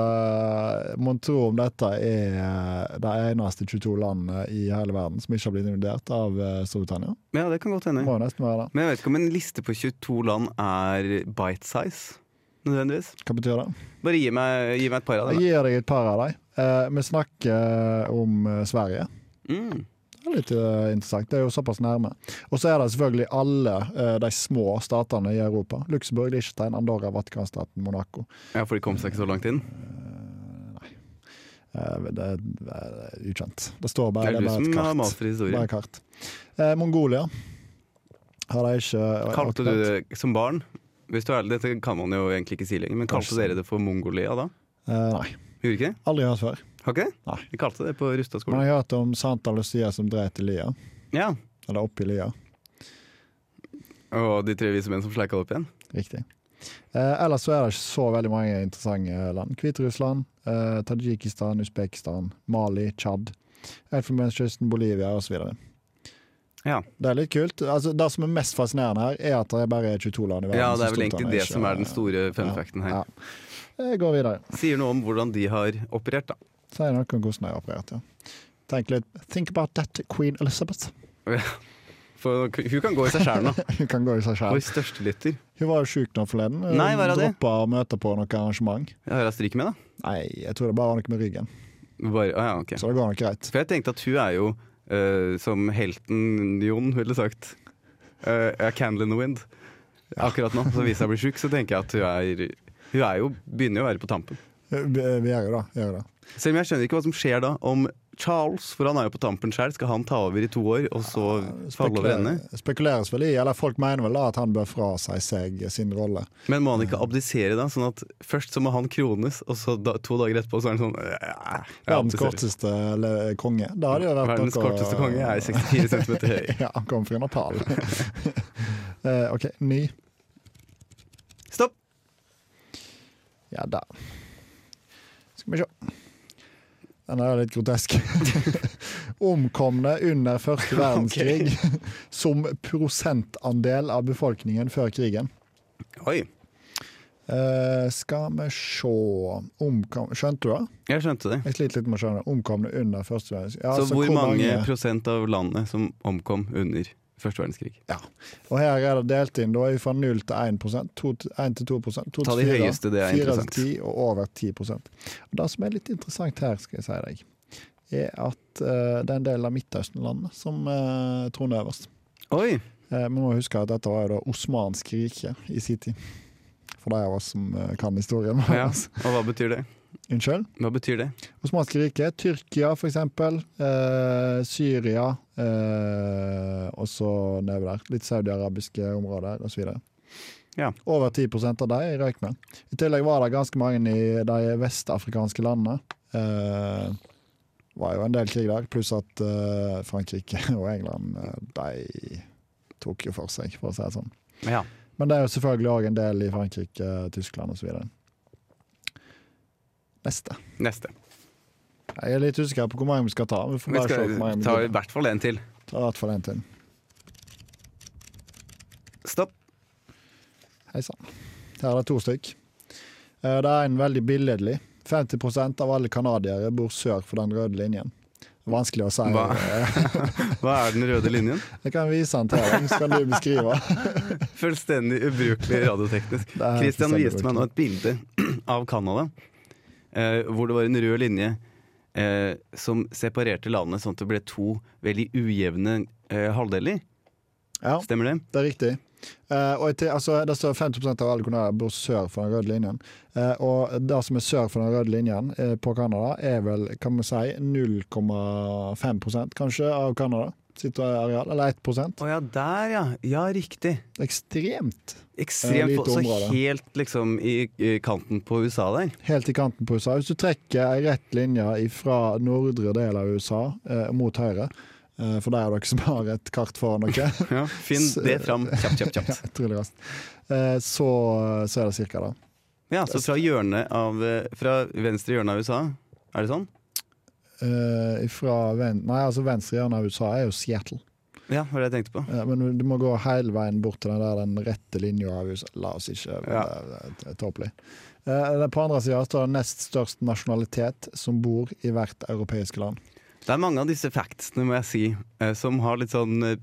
S2: Mon tro om dette er eh, det eneste 22 landet i hele verden som ikke har blitt invadert av eh, Storbritannia.
S4: Ja, det kan godt
S2: Det
S4: hende.
S2: må jo nesten være det.
S4: Men jeg vet ikke om en liste på 22 land er bite size, nødvendigvis.
S2: Hva betyr det?
S4: Bare gi meg, gi meg et par av
S2: Jeg
S4: dem.
S2: gir deg et par av dem. Eh, vi snakker om eh, Sverige.
S4: Mm.
S2: Det var litt eh, interessant. Det er jo såpass nærme. Og så er det selvfølgelig alle eh, de små statene i Europa. Luxembourg, Liechtenstein, Andorra, Vatikanstaten, Monaco.
S4: Ja, For de kom seg ikke så langt inn?
S2: Eh, Det er, det er ukjent. Det står bare,
S4: Det er
S2: det
S4: du
S2: er bare
S4: som
S2: et
S4: har
S2: kart.
S4: master i historie.
S2: Bare kart. Eh, Mongolia har de ikke
S4: Kalte du det som barn? Hvis du er ærlig, Dette kan man jo egentlig ikke si lenger, men kalte dere det for Mongolia da?
S2: Eh, Nei.
S4: Gjorde ikke det?
S2: Aldri hørt før.
S4: Har ikke det?
S2: Nei.
S4: Vi kalte det på Rusta
S2: Men
S4: skole.
S2: jeg har hørt om Santa Lucia som dreit i lia.
S4: Ja.
S2: Eller oppi lia.
S4: Og de tre vise menn som sleika det opp igjen.
S2: Riktig. Eh, ellers så er det ikke så veldig mange interessante land. Hviterussland, eh, Tadsjikistan, Usbekistan, Mali, Tsjad, Elfenbenskysten, Bolivia osv.
S4: Ja.
S2: Det er litt kult. Altså, det som er mest fascinerende her, er at det er bare 22 land i verden.
S4: ja, det
S2: så
S4: er vel
S2: Storbritannia
S4: egentlig det
S2: ikke-
S4: som er den store fun
S2: Ja.
S4: facten her.
S2: Ja. Jeg går videre.
S4: Sier noe om hvordan de har operert, da.
S2: Sier noe om hvordan jeg har operert, ja. Tenk litt Think about that, Queen Elizabeth.
S4: For hun kan gå i seg sjæl nå.
S2: Hun kan gå i seg sjæl.
S4: Vår største lytter.
S2: Hun var jo sjuk nå forleden. Hun
S4: Nei, hva er det?
S2: Droppa å møte på noe arrangement.
S4: Jeg har jeg stryk med, da.
S2: Nei, jeg tror det bare var noe med ryggen.
S4: Bare, ah, ja, ok.
S2: Så det går nok greit.
S4: For jeg tenkte at hun er jo eh, som helten Jon ville sagt. Uh, a candle in the wind. Akkurat nå, så hvis jeg blir sjuk, så tenker jeg at hun er Hun er jo, begynner jo å være på tampen.
S2: Eh, Vi vi gjør jo det. Gjør det.
S4: Selv om jeg skjønner ikke hva som skjer da om Charles, for han er jo på tampen sjøl, skal han ta over i to år og så falle over ende?
S2: Spekulerer- spekuleres vel i, eller folk mener vel da at han bør frasi seg sin rolle.
S4: Men må han ikke abdisere da? Sånn at først så må han krones, og så da, to dager etterpå så er han sånn «Ja, jeg
S2: Verdens
S4: abdiserer».
S2: korteste le- konge. Da hadde jo vært
S4: Verdens
S2: noe-
S4: korteste konge er 64 cm høy.
S2: Ja, han kom fra Nepal. Eh, OK, ny.
S4: Stopp!
S2: Ja da. Skal vi se. Den er jo litt grotesk. Omkomne under første verdenskrig som prosentandel av befolkningen før krigen.
S4: Oi.
S2: Eh, skal vi se Omkom Skjønte du det?
S4: Jeg skjønte det.
S2: Jeg sliter litt med å skjønne. Omkomne under første verdenskrig. Ja,
S4: Så
S2: altså,
S4: hvor mange prosent av landet som omkom under første verdenskrig?
S2: ja. Og her er det delt inn da, fra 0 til 1 prosent, 2 til 1 til 2 prosent, 2
S4: Ta
S2: til
S4: de
S2: 4,
S4: høyeste, det er
S2: 4
S4: interessant.
S2: til 10 og over 10 prosent. Og Det som er litt interessant her, skal jeg si deg, er at eh, det er en del av Midtøsten-landene som uh, troner øverst.
S4: Oi!
S2: Eh, men må huske at dette var jo da Osmansk rike i sin tid. For de av oss som eh, kan historien. altså.
S4: Ja. Og hva betyr det?
S2: Unnskyld?
S4: Hva betyr det?
S2: Osmanske riket, Tyrkia for eksempel, eh, Syria, eh, og så nedover der. Litt saudiarabiske områder osv.
S4: Ja.
S2: Over 10 av de røyk med. I tillegg var det ganske mange i de vestafrikanske landene. Eh, var jo en del krig der, pluss at eh, Frankrike og England eh, de tok jo for seg, for å si det sånn.
S4: Ja.
S2: Men det er jo selvfølgelig òg en del i Frankrike, Tyskland osv. Neste.
S4: Neste.
S2: Jeg er litt usikker på hvor mange vi skal ta. Vi får
S4: Vi
S2: bare se
S4: skal
S2: hvor mange vi
S4: ta i
S2: gidder.
S4: hvert fall en til.
S2: Ta i hvert fall en til.
S4: Stopp.
S2: Hei sann. Her er det to stykk. Eh, Det er en veldig billedlig. 50 av alle canadiere bor sør for den røde linjen. Vanskelig å si.
S4: Hva? Hva er den røde linjen?
S2: Jeg kan vise den til deg, så kan du beskrive.
S4: Fullstendig ubrukelig radioteknisk.
S2: Det er
S4: Christian
S2: fullstendig
S4: viste meg nå et bilde av Canada, eh, hvor det var en rød linje eh, som separerte landet sånn at det ble to veldig ujevne eh, halvdeler.
S2: Ja,
S4: Stemmer det?
S2: det er riktig. Eh, og til, altså, det står 50 av alle canadiere bor sør for den røde linjen. Eh, og det som er sør for den røde linjen eh, på Canada, er vel kan vi si 0,5 kanskje av Canada sitt areal. Eller 1
S4: Å ja, der ja. Ja, riktig.
S2: Ekstremt. Eh,
S4: Ekstremt
S2: lite
S4: få- Så
S2: område.
S4: helt liksom i, i kanten på USA der.
S2: Helt i kanten på USA. Hvis du trekker ei rett linje fra nordre del av USA eh, mot høyre, eh, for der er dere som har et kart foran dere,
S4: Ja, finn
S2: Så-
S4: det fram kjapt, kjapt,
S2: ja,
S4: kjapt.
S2: utrolig raskt, eh, så, så er det cirka det.
S4: Ja, så fra hjørnet av eh, Fra venstre hjørne av USA, er det sånn?
S2: Eh, fra ven nei, altså venstre hjørne av USA er jo Seattle,
S4: Ja, var det jeg tenkte på.
S2: eh, men du må gå hele veien bort til den der den rette linja av USA. La oss ikke
S4: Ja.
S2: det er- det er tåpelig. Eh, det- på andre sida står det nest størst nasjonalitet som bor i hvert europeiske land.
S4: Det er mange av disse factsene, må jeg si, eh, som har litt sånn eh,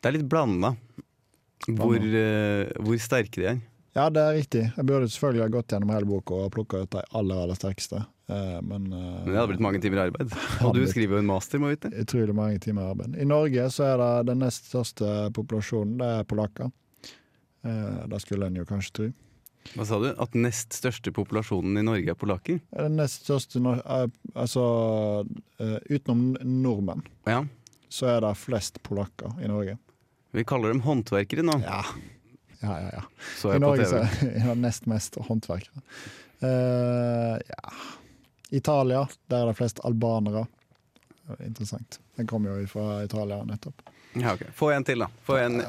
S4: Det er litt blanda hvor, eh, hvor sterke de er.
S2: Ja, det er riktig. Jeg burde selvfølgelig ha gått gjennom hele boka og plukka ut de aller, aller sterkeste, eh, men eh,
S4: Men det hadde blitt mange timer arbeid.
S2: Hadde
S4: Og du
S2: blitt.
S4: skriver jo en master, må vite.
S2: Utrolig mange timer arbeid. I Norge så er det den nest største populasjonen, det er polakker. Eh, det skulle en jo kanskje tro.
S4: Hva sa du? At nest største populasjonen i Norge er polakker?
S2: Den nest største nor- eh, Altså eh, utenom nordmenn,
S4: Ja.
S2: så er det flest polakker i Norge.
S4: Vi kaller dem håndverkere nå,
S2: Ja, ja, ja. ja.
S4: så
S2: I
S4: jeg på
S2: Norge så
S4: TV.
S2: er det nest mest håndverkere. Eh, ja. Italia, der er det flest albanere. Det er Interessant. Den kommer jo fra Italia nettopp.
S4: Ja, ok. Få en til, da. Få en.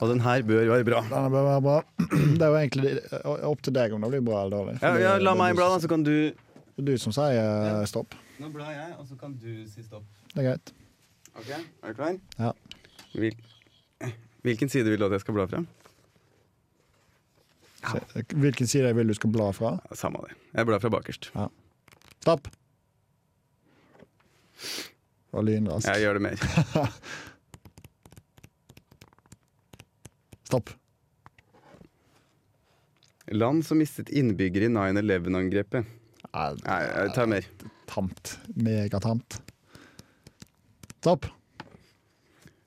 S4: Og den her bør være bra.
S2: Denne bør være bra. Det er jo egentlig eh, opp til deg om det blir bra eller dårlig.
S4: Ja,
S2: Fordi
S4: ja,
S2: det
S4: la
S2: er
S4: meg
S2: du
S4: bla,
S2: som-
S4: da, så kan du
S2: Det er du som sier eh,
S4: Ja.
S2: stopp.
S4: Nå blar jeg, og så kan du si stopp.
S2: Det er greit.
S4: Ok, Er du klar?
S2: Ja.
S4: Hvil... eh, Hvilken side vil du at jeg skal bla frem?
S2: Så, eh, hvilken side jeg vil du skal bla fra?
S4: Ja, Samme av det. Jeg blar fra bakerst.
S2: Stopp! Og lynrask.
S4: Jeg gjør det mer.
S2: Stopp.
S4: Land som mistet innbyggere i 9-11-angrepet.
S2: Nei,
S4: Nei, jeg tar mer.
S2: tamt. Megatamt. Stopp.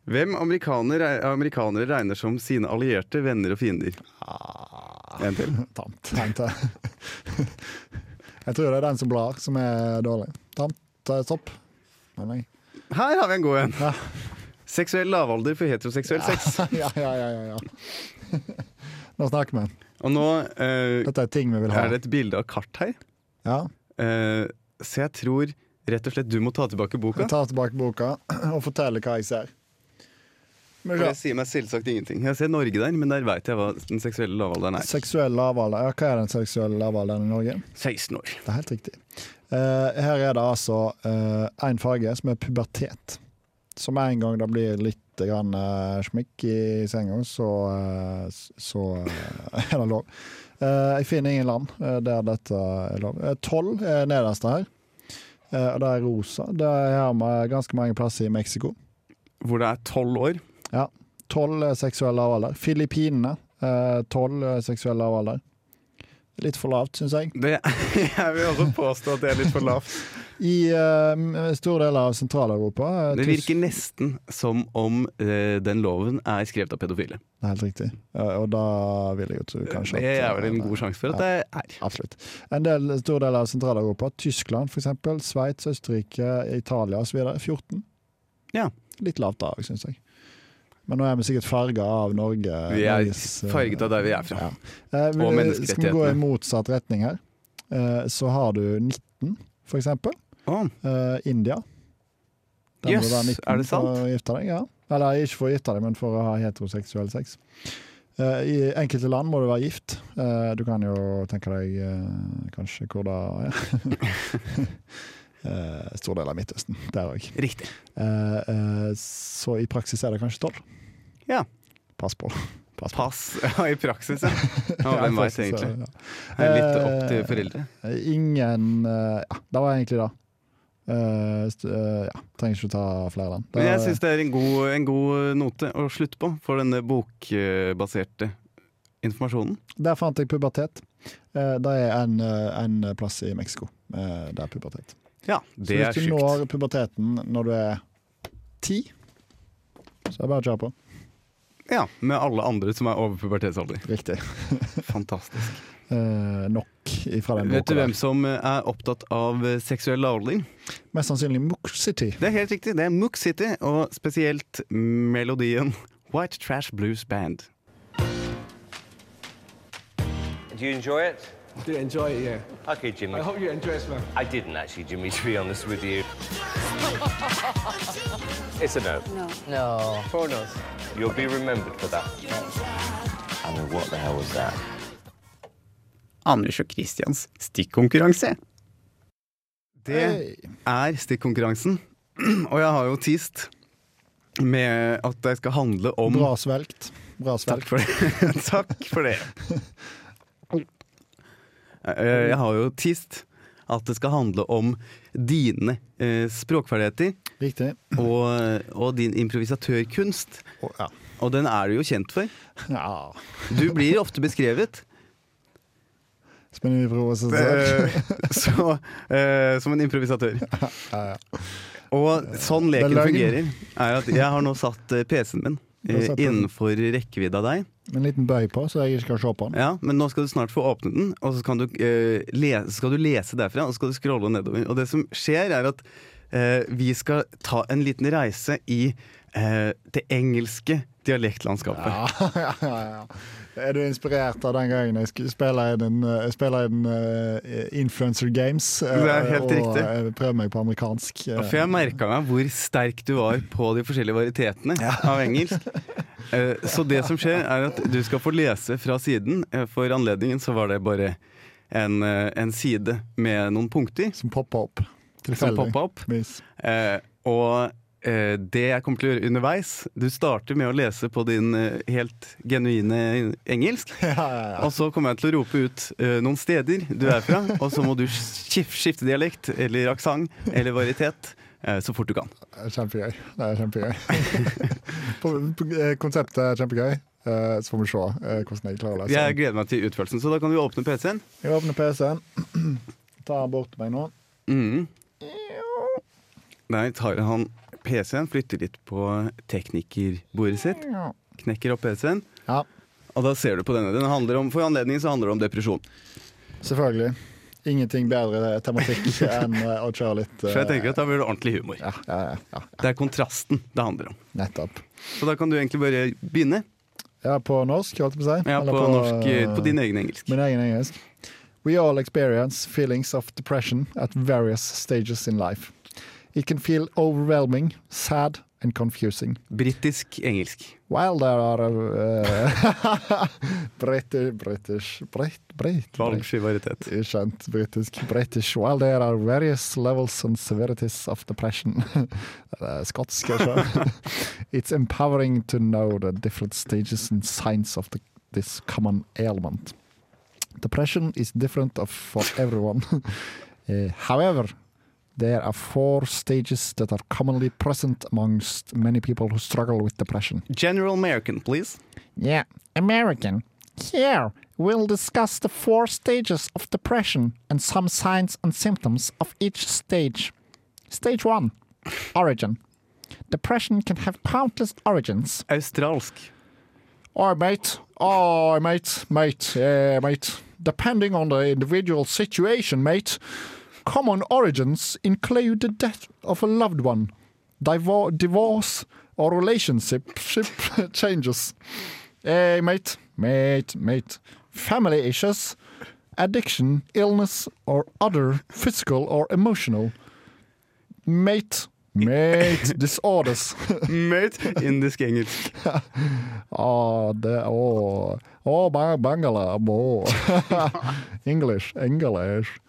S4: Hvem amerikaner, amerikanere regner som sine allierte, venner og fiender?
S2: Ah.
S4: En til.
S2: Tamt. En til. jeg tror det er den som blar, som er dårlig. Tamt. eh, Stopp. Men nei.
S4: Her har vi en god en.
S2: Ja.
S4: Seksuell lavalder for heteroseksuell sex.
S2: ja, ja, ja, ja, ja. Nå snakker vi.
S4: Og nå eh,
S2: Dette er ting vi vil ha.
S4: er det et bilde av kart her.
S2: Ja.
S4: Eh, så jeg tror rett og slett du må ta tilbake boka.
S2: Jeg tar tilbake boka og forteller hva jeg ser. Men
S4: For
S2: ja.
S4: det sier meg selvsagt ingenting. Jeg ser Norge der, men der veit jeg hva den seksuelle lavalderen er.
S2: Seksuell lavalder. Ja, hva er den seksuelle lavalderen i Norge?
S4: 16 år.
S2: Det er helt riktig. Eh, her er det altså én farge, som er pubertet. Så med en gang det blir litt grann, eh, smikk i senga, så, eh, s- så eh, er det lov. Eh, jeg finner ingen land eh, der dette er lov. Eh, Tolv er nederst her. Eh, og det er rosa. Det har vi ganske mange plasser i Mexico.
S4: Hvor det er 12 år.
S2: Tolv er seksuell lavalder. Filippinene eh, tolv er seksuell lavalder. Litt for lavt, syns jeg.
S4: Det, jeg vil også påstå at det er litt for lavt.
S2: I eh, store deler av Sentral-Europa. eh,
S4: Det
S2: Tysk-
S4: virker nesten som om eh, den loven er skrevet av pedofile.
S2: Det er helt riktig. Eh, Og da vil jeg jo tro kanskje
S4: Det er vel en
S2: eh,
S4: god sjanse for at det er.
S2: Absolutt. En del, en stor del av Sentral-Europa, Tyskland f.eks., Sveits, Østerrike, Italia osv. 14.
S4: Ja.
S2: Litt lavt da òg, syns jeg. Men nå er vi sikkert farga av Norge.
S4: Vi er
S2: Norges, eh,
S4: farget av der vi er fra.
S2: Ja. Eh, vil-
S4: Og
S2: Skal vi gå i
S4: menneskerettighetene.
S2: motsatt retning her, eh, så har du 19, for eksempel.
S4: Å,
S2: Eh, India. Der må
S4: Jøss,
S2: du være 19
S4: er det sant?
S2: For å gifte deg, ja. Eller ikke for å gifte deg, men for å ha heteroseksuell sex. Eh, I enkelte land må du være gift. Eh, du kan jo tenke deg eh, kanskje hvor det er. Eh, stor del av Midtøsten, der òg.
S4: riktig.
S2: så i praksis er det kanskje tolv.
S4: Ja.
S2: Pass på. Pass på.
S4: Pass ja, i praksis, ja. ja hvem veit
S2: faktisk,
S4: egentlig?
S2: ja.
S4: Det er litt opp til foreldre.
S2: Eh, Ingen eh, Ja, det var egentlig det. Eh, st- eh, ja, trenger ikke å ta flere land.
S4: Men jeg syns det er en god, en god eh, note å slutte på for denne bokbaserte informasjonen.
S2: Der fant jeg pubertet. Eh, Det er en, eh, en plass i Mexico eh, det er pubertet.
S4: Ja,
S2: Så
S4: det
S2: hvis
S4: er
S2: du
S4: sjukt.
S2: når puberteten når du er ti, så er det bare å kjøre på.
S4: Ja, med alle andre som er over pubertetsalder.
S2: Riktig.
S4: Fantastisk.
S2: Eh, nok ifra den
S4: Vet
S2: boka.
S4: du hvem
S2: der.
S4: som eh, er opptatt av eh, seksuell lavaldring?
S2: Mest sannsynlig Mook City.
S4: Det er helt riktig. Det er Mook City, og spesielt melodien White Trash Blues Band.
S6: Do you enjoy it?
S7: I do enjoy it, yeah.
S6: Okay, Jimmy.
S7: I hope you enjoy it as well.
S6: I didn't actually, Jimmy, to be honest with you. it's a no. No. No. Four no's. You'll be remembered for that. I mean, what the hell was that?
S5: Anders og Christians stikkonkurranse.
S4: Det er stikkonkurransen, og jeg har jo teased med at det skal handle om
S2: Bra svelgt. Bra
S4: Takk
S2: svelgt.
S4: for det. Takk for det. Eh, Jeg har jo teased at det skal handle om dine eh, språkferdigheter
S2: Riktig.
S4: og, og din improvisatørkunst.
S2: Å, ja.
S4: Og den er du jo kjent for.
S2: ja.
S4: Du blir ofte beskrevet
S2: Spennende ivro, og så-
S4: Eh, så, eh, som en improvisatør. Og sånn
S2: Det er
S4: leken
S2: løgn.
S4: fungerer, er at jeg har nå satt eh, PC-en min
S2: Du har
S4: eh,
S2: satt den.
S4: innenfor rekkevidde av deg.
S2: En liten bøy på, så jeg ikke skal se på den.
S4: Ja, Men nå skal du snart få åpne den, og så kan du, eh, lese, skal du lese derfra. Og så skal du scrolle nedover. Og det som skjer, er at eh, vi skal ta en liten reise i eh, det engelske dialektlandskapet.
S2: Ja, ja, ja. Er du inspirert av den gangen jeg sk- spiller i den, eh, spiller i den eh, Influencer Games? eh,
S4: Det er helt
S2: og
S4: riktig.
S2: eh, prøver meg på amerikansk. eh.
S4: Ja, For jeg merka meg hvor sterk du var på de forskjellige varietetene av engelsk. Eh, Så det som skjer, er at du skal få lese fra siden. Eh, For anledningen så var det bare en, eh, en side med noen punkter
S2: Som popper opp.
S4: som poppa opp.
S2: Vis.
S4: Eh, Og eh, det jeg kommer til å gjøre underveis Du starter med å lese på din eh, helt genuine engelsk.
S2: Ja, ja, ja.
S4: Og så kommer jeg til å rope ut eh, noen steder du er fra, og så må du skif- skifte dialekt eller aksent eller varietet eh, så fort du kan.
S2: Det er Kjempegøy. Det er kjempegøy. På- på- eh, Konseptet er kjempegøy. Eh, Så får vi se eh, hvordan jeg klarer å lese
S4: Jeg
S2: den.
S4: gleder meg til utførelsen, så da kan du åpne PC-en.
S2: Jeg åpner PC-en. Tar den bort til meg nå.
S4: Mhm. Der tar han PC-en, flytter litt på teknikerbordet sitt, knekker opp PC-en,
S2: Ja,
S4: og da ser du på denne. Den handler om, for anledningen så handler det om depresjon.
S2: selvfølgelig. Ingenting bedre tematikk enn eh, å kjøre litt eh,
S4: Så jeg tenker at da blir det ordentlig humor.
S2: ja, ja, ja, ja,
S4: Det er kontrasten det handler om.
S2: nettopp.
S4: Så da kan du egentlig bare begynne
S2: Ja, på norsk, holdt jeg på å si.
S4: ja,
S2: Eller
S4: på, norsk, eh, på din
S2: eh,
S4: egen engelsk.
S2: Min egen engelsk. We all experience feelings of depression at various stages in life. It can feel overwhelming, sad and confusing.
S4: Britisk engelsk.
S2: While there are uh, British, British, Brit, Brit, Brit,
S4: Valgsky varietet.
S2: Ukjent britisk. British. While there are various levels and severities of depression. Det er Skotsk, kanskje. It's empowering to know the different stages and signs of the, this common ailment. Depression is different of, for everyone. Eh, however, there are four stages that are commonly present amongst many people who struggle with depression.
S4: General American, please.
S2: Yeah, American. Here, we'll discuss the four stages of depression and some signs and symptoms of each stage. Stage 1 Origin. Depression can have countless origins.
S4: Australsk.
S2: Oi, mate. Oi, mate. Mate. Yeah, mate. Depending on the individual situation, mate, common origins include the death of a loved one, divor- divorce, or relationship ship changes. Hey, mate. Mate, mate. Family issues, addiction, illness, or other physical or emotional. Mate. Mate. disorders.
S4: Mate. Indisk engelsk.
S2: Ah, det, oh. Oh, ba- Bangala, bo. English, English.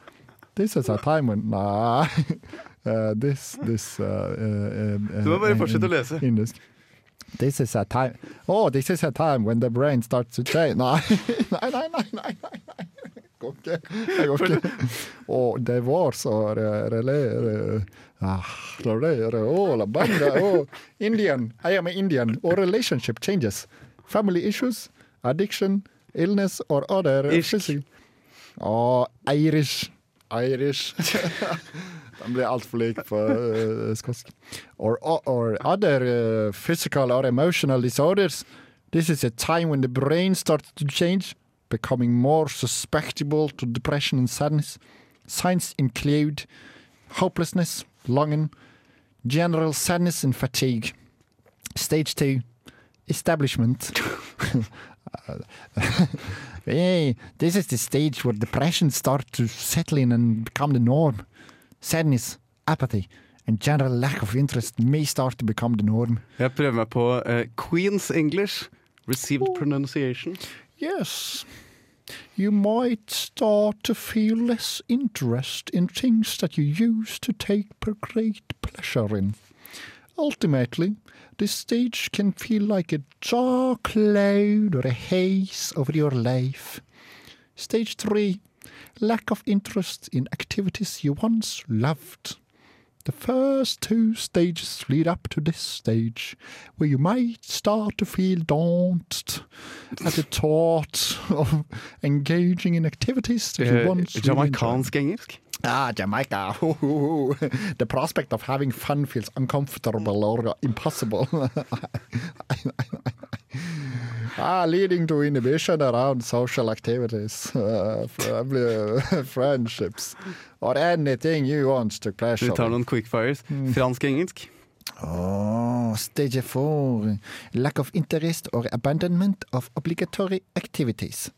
S2: This is a time when Nah. Uh, this, this uh, uh, uh,
S4: Du må bare
S2: uh,
S4: fortsette å
S2: in-
S4: lese.
S2: Indisk. This is a time Oh, this is a time when the brain starts to change Nei, nei, nei, nei, nei, nei. nei. Det går ikke. Det går ikke. Og det var så re- rele- re- ah, la re- re- oh, la banga, oh. Indian. I am an Indian. Or relationship changes. Family issues, addiction, illness or other
S4: Irsk.
S2: physical- Å, Irish. Irish. Den blir altfor lik på eh, skotsk. Or, or, or other uh, physical or emotional disorders. This is a time when the brain starts to change, becoming more susceptible to depression and sadness. Signs include hopelessness, longing, general sadness, and fatigue. Stage two, establishment. Hey, this is the stage where depression starts to settle in and become the norm. Sadness, apathy, and general lack of interest may start to become the norm.
S4: Jeg prøver meg på eh, Queens English. Received pronunciation.
S2: Yes. You might start to feel less interest in things that you used to take per- great pleasure in. Ultimately, this stage can feel like a dark cloud or a haze over your life. Stage 3 Lack of interest in activities you once loved. The first two stages lead up to this stage, where you might start to feel daunted at the thought of engaging in activities that you
S4: Eh,
S2: once really enjoyed.
S4: Jamaikansk engelsk?
S2: Ah, Jamaica. Ho, ho, ho. The prospect of having fun feels uncomfortable or impossible. ah, leading to inhibition around social activities, uh, probably, uh, friendships, or anything you want to
S4: Vi
S2: pleasure.
S4: tar noen quickfires. Fransk-engelsk?
S2: Oh, stage four. Lack of interest or abandonment of obligatory activities.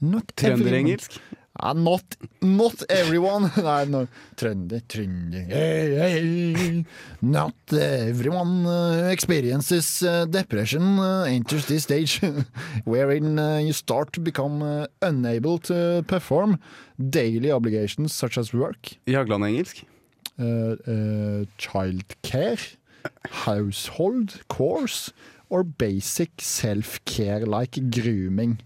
S2: Not everyone-
S4: Trønderengelsk?
S2: Ah, not, not everyone. Nei, no. Trønder, trønder hey, hey. Not everyone uh, experiences uh, depression uh, enters this stage, wherein uh, you start to become uh, unable to perform daily obligations such as work,
S4: Jagland-engelsk?
S2: uh, uh, childcare, household chores, or basic self-care like grooming.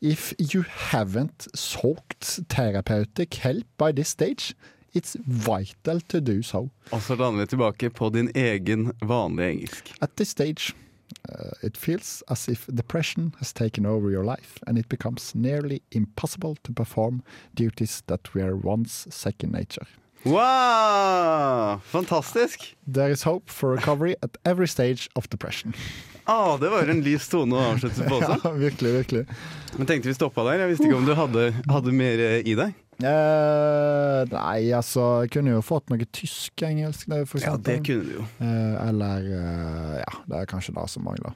S2: If you haven't sought therapeutic help by this stage, it's vital to do so.
S4: Og så lander vi tilbake på din egen vanlige engelsk.
S2: At this stage, uh, it feels as if depression has taken over your life and it becomes nearly impossible to perform duties that were once second nature.
S4: Wow! Fantastisk!
S2: There is hope for recovery at every stage of depression.
S4: Ah, det var en lys tone å avslutte på også.
S2: Ja, virkelig, virkelig.
S4: Men tenkte vi stoppa der. Jeg visste ikke om du hadde, hadde mer eh, i deg.
S2: Eh, nei, altså, jeg kunne jo fått noe tysk-engelsk. det er for
S4: Ja, det
S2: eksempel.
S4: kunne du jo.
S2: Eh, eller eh, ja, det er kanskje det som mangler.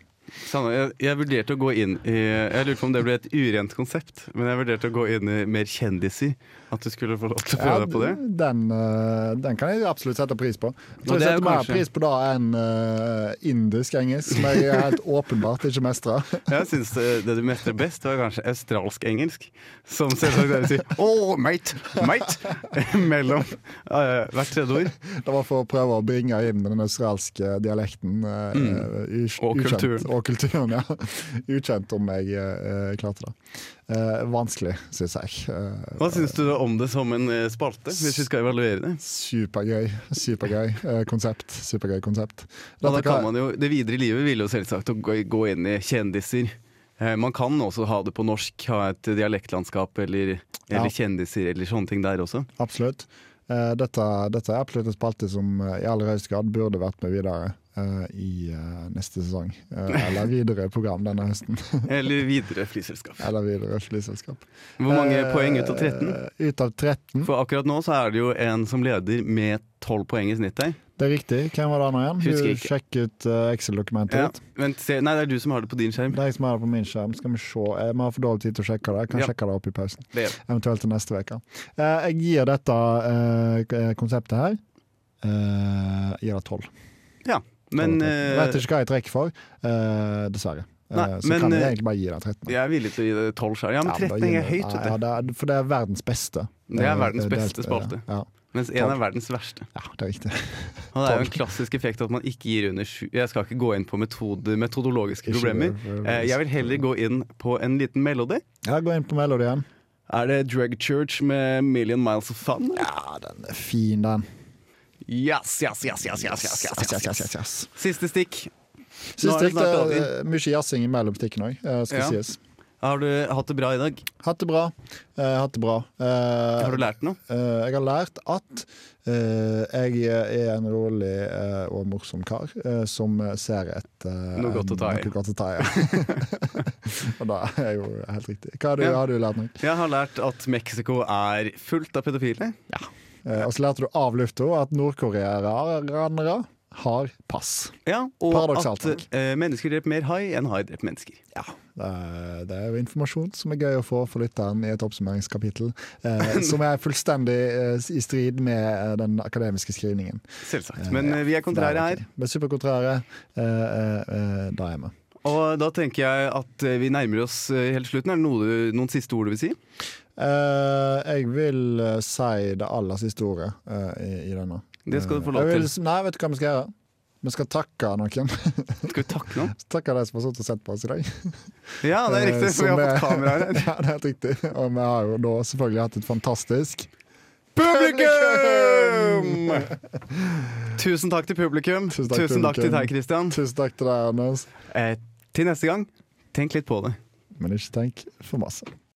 S4: Sanne, jeg, jeg vurderte å gå inn i Jeg lurte på om det ble et urent konsept, men jeg vurderte å gå inn i mer kjendiser. At du skulle få lov til å prøve deg på det.
S2: Den, eh, den kan jeg absolutt sette pris på. Jeg
S4: Og
S2: tror jeg
S4: det er
S2: setter mer
S4: kanskje-
S2: pris på det enn eh, indisk-engelsk, som jeg helt åpenbart ikke mestrer.
S4: Jeg syns det, det du mestrer best, var kanskje australsk-engelsk. Som selvsagt dere sier 'oh, mate', 'mate' mellom eh, hvert tredje ord.
S2: Det var for å prøve å bringe inn den australske dialekten. eh, u-
S4: Mm. Og
S2: ukjent-
S4: kulturen.
S2: Og kulturen, ja. Ukjent om jeg eh, klarte det. Eh, vanskelig, syns jeg. Eh,
S4: Hva syns du om det som en eh, spalte, hvis vi skal evaluere det?
S2: Supergøy. Supergøy eh, konsept. Supergøy konsept.
S4: Og
S2: Dette
S4: da kan man jo, det videre i livet ville jo selvsagt å gå, gå inn i kjendiser. Eh, Man kan også ha det på norsk, ha et dialektlandskap eller, eller
S2: Ja.
S4: kjendiser eller sånne ting der også.
S2: Absolutt. Eh, dette, dette er absolutt en spalte som eh, i aller høyeste grad burde vært med videre eh, i eh, neste sesong. Eh, eller videre program denne høsten.
S4: Eller videre flyselskap.
S2: eller videre flyselskap.
S4: Hvor mange
S2: Eh,
S4: poeng ut av 13?
S2: Ut av 13.
S4: For akkurat nå så er det jo en som leder med 12 poeng i snitt der.
S2: Det er riktig. Hvem var det nå igjen?
S4: Husker
S2: Du
S4: ikke.
S2: Sjekk ut eh, Excel-dokumentet
S4: Ja.
S2: ditt.
S4: Vent, se, nei, det er du som har det på din skjerm.
S2: Det er jeg som har det på min skjerm. Skal vi se. Jeg må ha for dårlig tid til å sjekke det. Jeg kan
S4: Ja.
S2: sjekke det opp i pausen.
S4: Det er.
S2: Eventuelt til neste uke. Eh, jeg gir dette eh, k- konseptet her eh, jeg gir det tolv.
S4: Ja, men eh,
S2: Jeg vet ikke hva jeg trekker for, eh, dessverre. Eh,
S4: Nei,
S2: så
S4: men,
S2: kan jeg
S4: eh,
S2: egentlig bare gi det 13.
S4: jeg er villig til å gi det 12 skjerm. Ja, men
S2: da
S4: 13 er
S2: gir vi-
S4: høyt,
S2: ja,
S4: vet du.
S2: det er, For det er verdens beste.
S4: Det er verdens
S2: Eh,
S4: beste
S2: delt-
S4: spalte.
S2: Ja,
S4: Mens én er verdens verste.
S2: ja, det er riktig.
S4: Og det er jo en klassisk effekt at man ikke gir under sju. Jeg skal ikke gå inn på metode, metodologiske
S2: Ikke
S4: problemer.
S2: det,
S4: Eh, Jeg vil heller gå inn på en liten melodi.
S2: Ja, Gå inn på Melody igjen.
S4: Er det Drug Church med 'Million Miles of Fun'?
S2: Ja, den er fin, den.
S4: Yes, yes, yes, yes, yes, yes, yes, yes, yes, yes.
S2: yes.
S4: Siste stikk. Nå
S2: Syns
S4: er
S2: det
S4: det snart
S2: er mye jazzing mellom stikkene òg, eh, skal
S4: Ja.
S2: sies.
S4: Har du hatt det bra i dag?
S2: Hatt det bra. Eh, hatt det bra. Eh,
S4: Har du lært noe?
S2: Eh, jeg har lært at eh, jeg er en rolig eh, og morsom kar eh, som ser etter eh,
S4: Noe godt å ta i.
S2: noe godt å ta i. og da er jeg jo helt riktig. Hva har du,
S4: Ja.
S2: har du lært nå?
S4: Jeg har lært at Mexico er fullt av pedofile.
S2: Eh, og så lærte du av lufta at nordkoreanere har pass.
S4: Ja, og
S2: Paradoksalt
S4: at eh, mennesker dreper mer hai enn hai dreper mennesker.
S2: Det er, det er jo informasjon som er gøy å få for lytteren i et oppsummeringskapittel, eh, som er fullstendig eh, i strid med eh, den akademiske skrivningen.
S4: Selvsagt. Men eh, vi er kontrære her.
S2: Vi er superkontrære. Eh, eh, eh, da er vi.
S4: Og da tenker jeg at eh, vi nærmer oss eh, helt slutten. Er det noe, du- noen siste ord du vil si?
S2: Eh, jeg vil eh, si det aller siste ordet eh, i, i denne.
S4: Det skal du få
S2: Jeg
S4: lov
S2: vil,
S4: til.
S2: nei, vet du hva vi skal gjøre? Vi skal takke noen.
S4: Skal vi takke noen?
S2: takke de som har sittet og sett på oss i dag.
S4: Ja, det er
S2: Eh,
S4: riktig, for vi
S2: som
S4: har
S2: er-
S4: fått kamera her.
S2: ja, det er helt riktig. Og vi har jo da selvfølgelig hatt et fantastisk
S4: Publikum! om. Tusen takk til publikum.
S2: Tusen takk, publikum.
S4: til deg, Christian.
S2: Tusen takk til deg, Anders.
S4: Eh, til neste gang, tenk litt på det.
S2: Men ikke tenk for masse.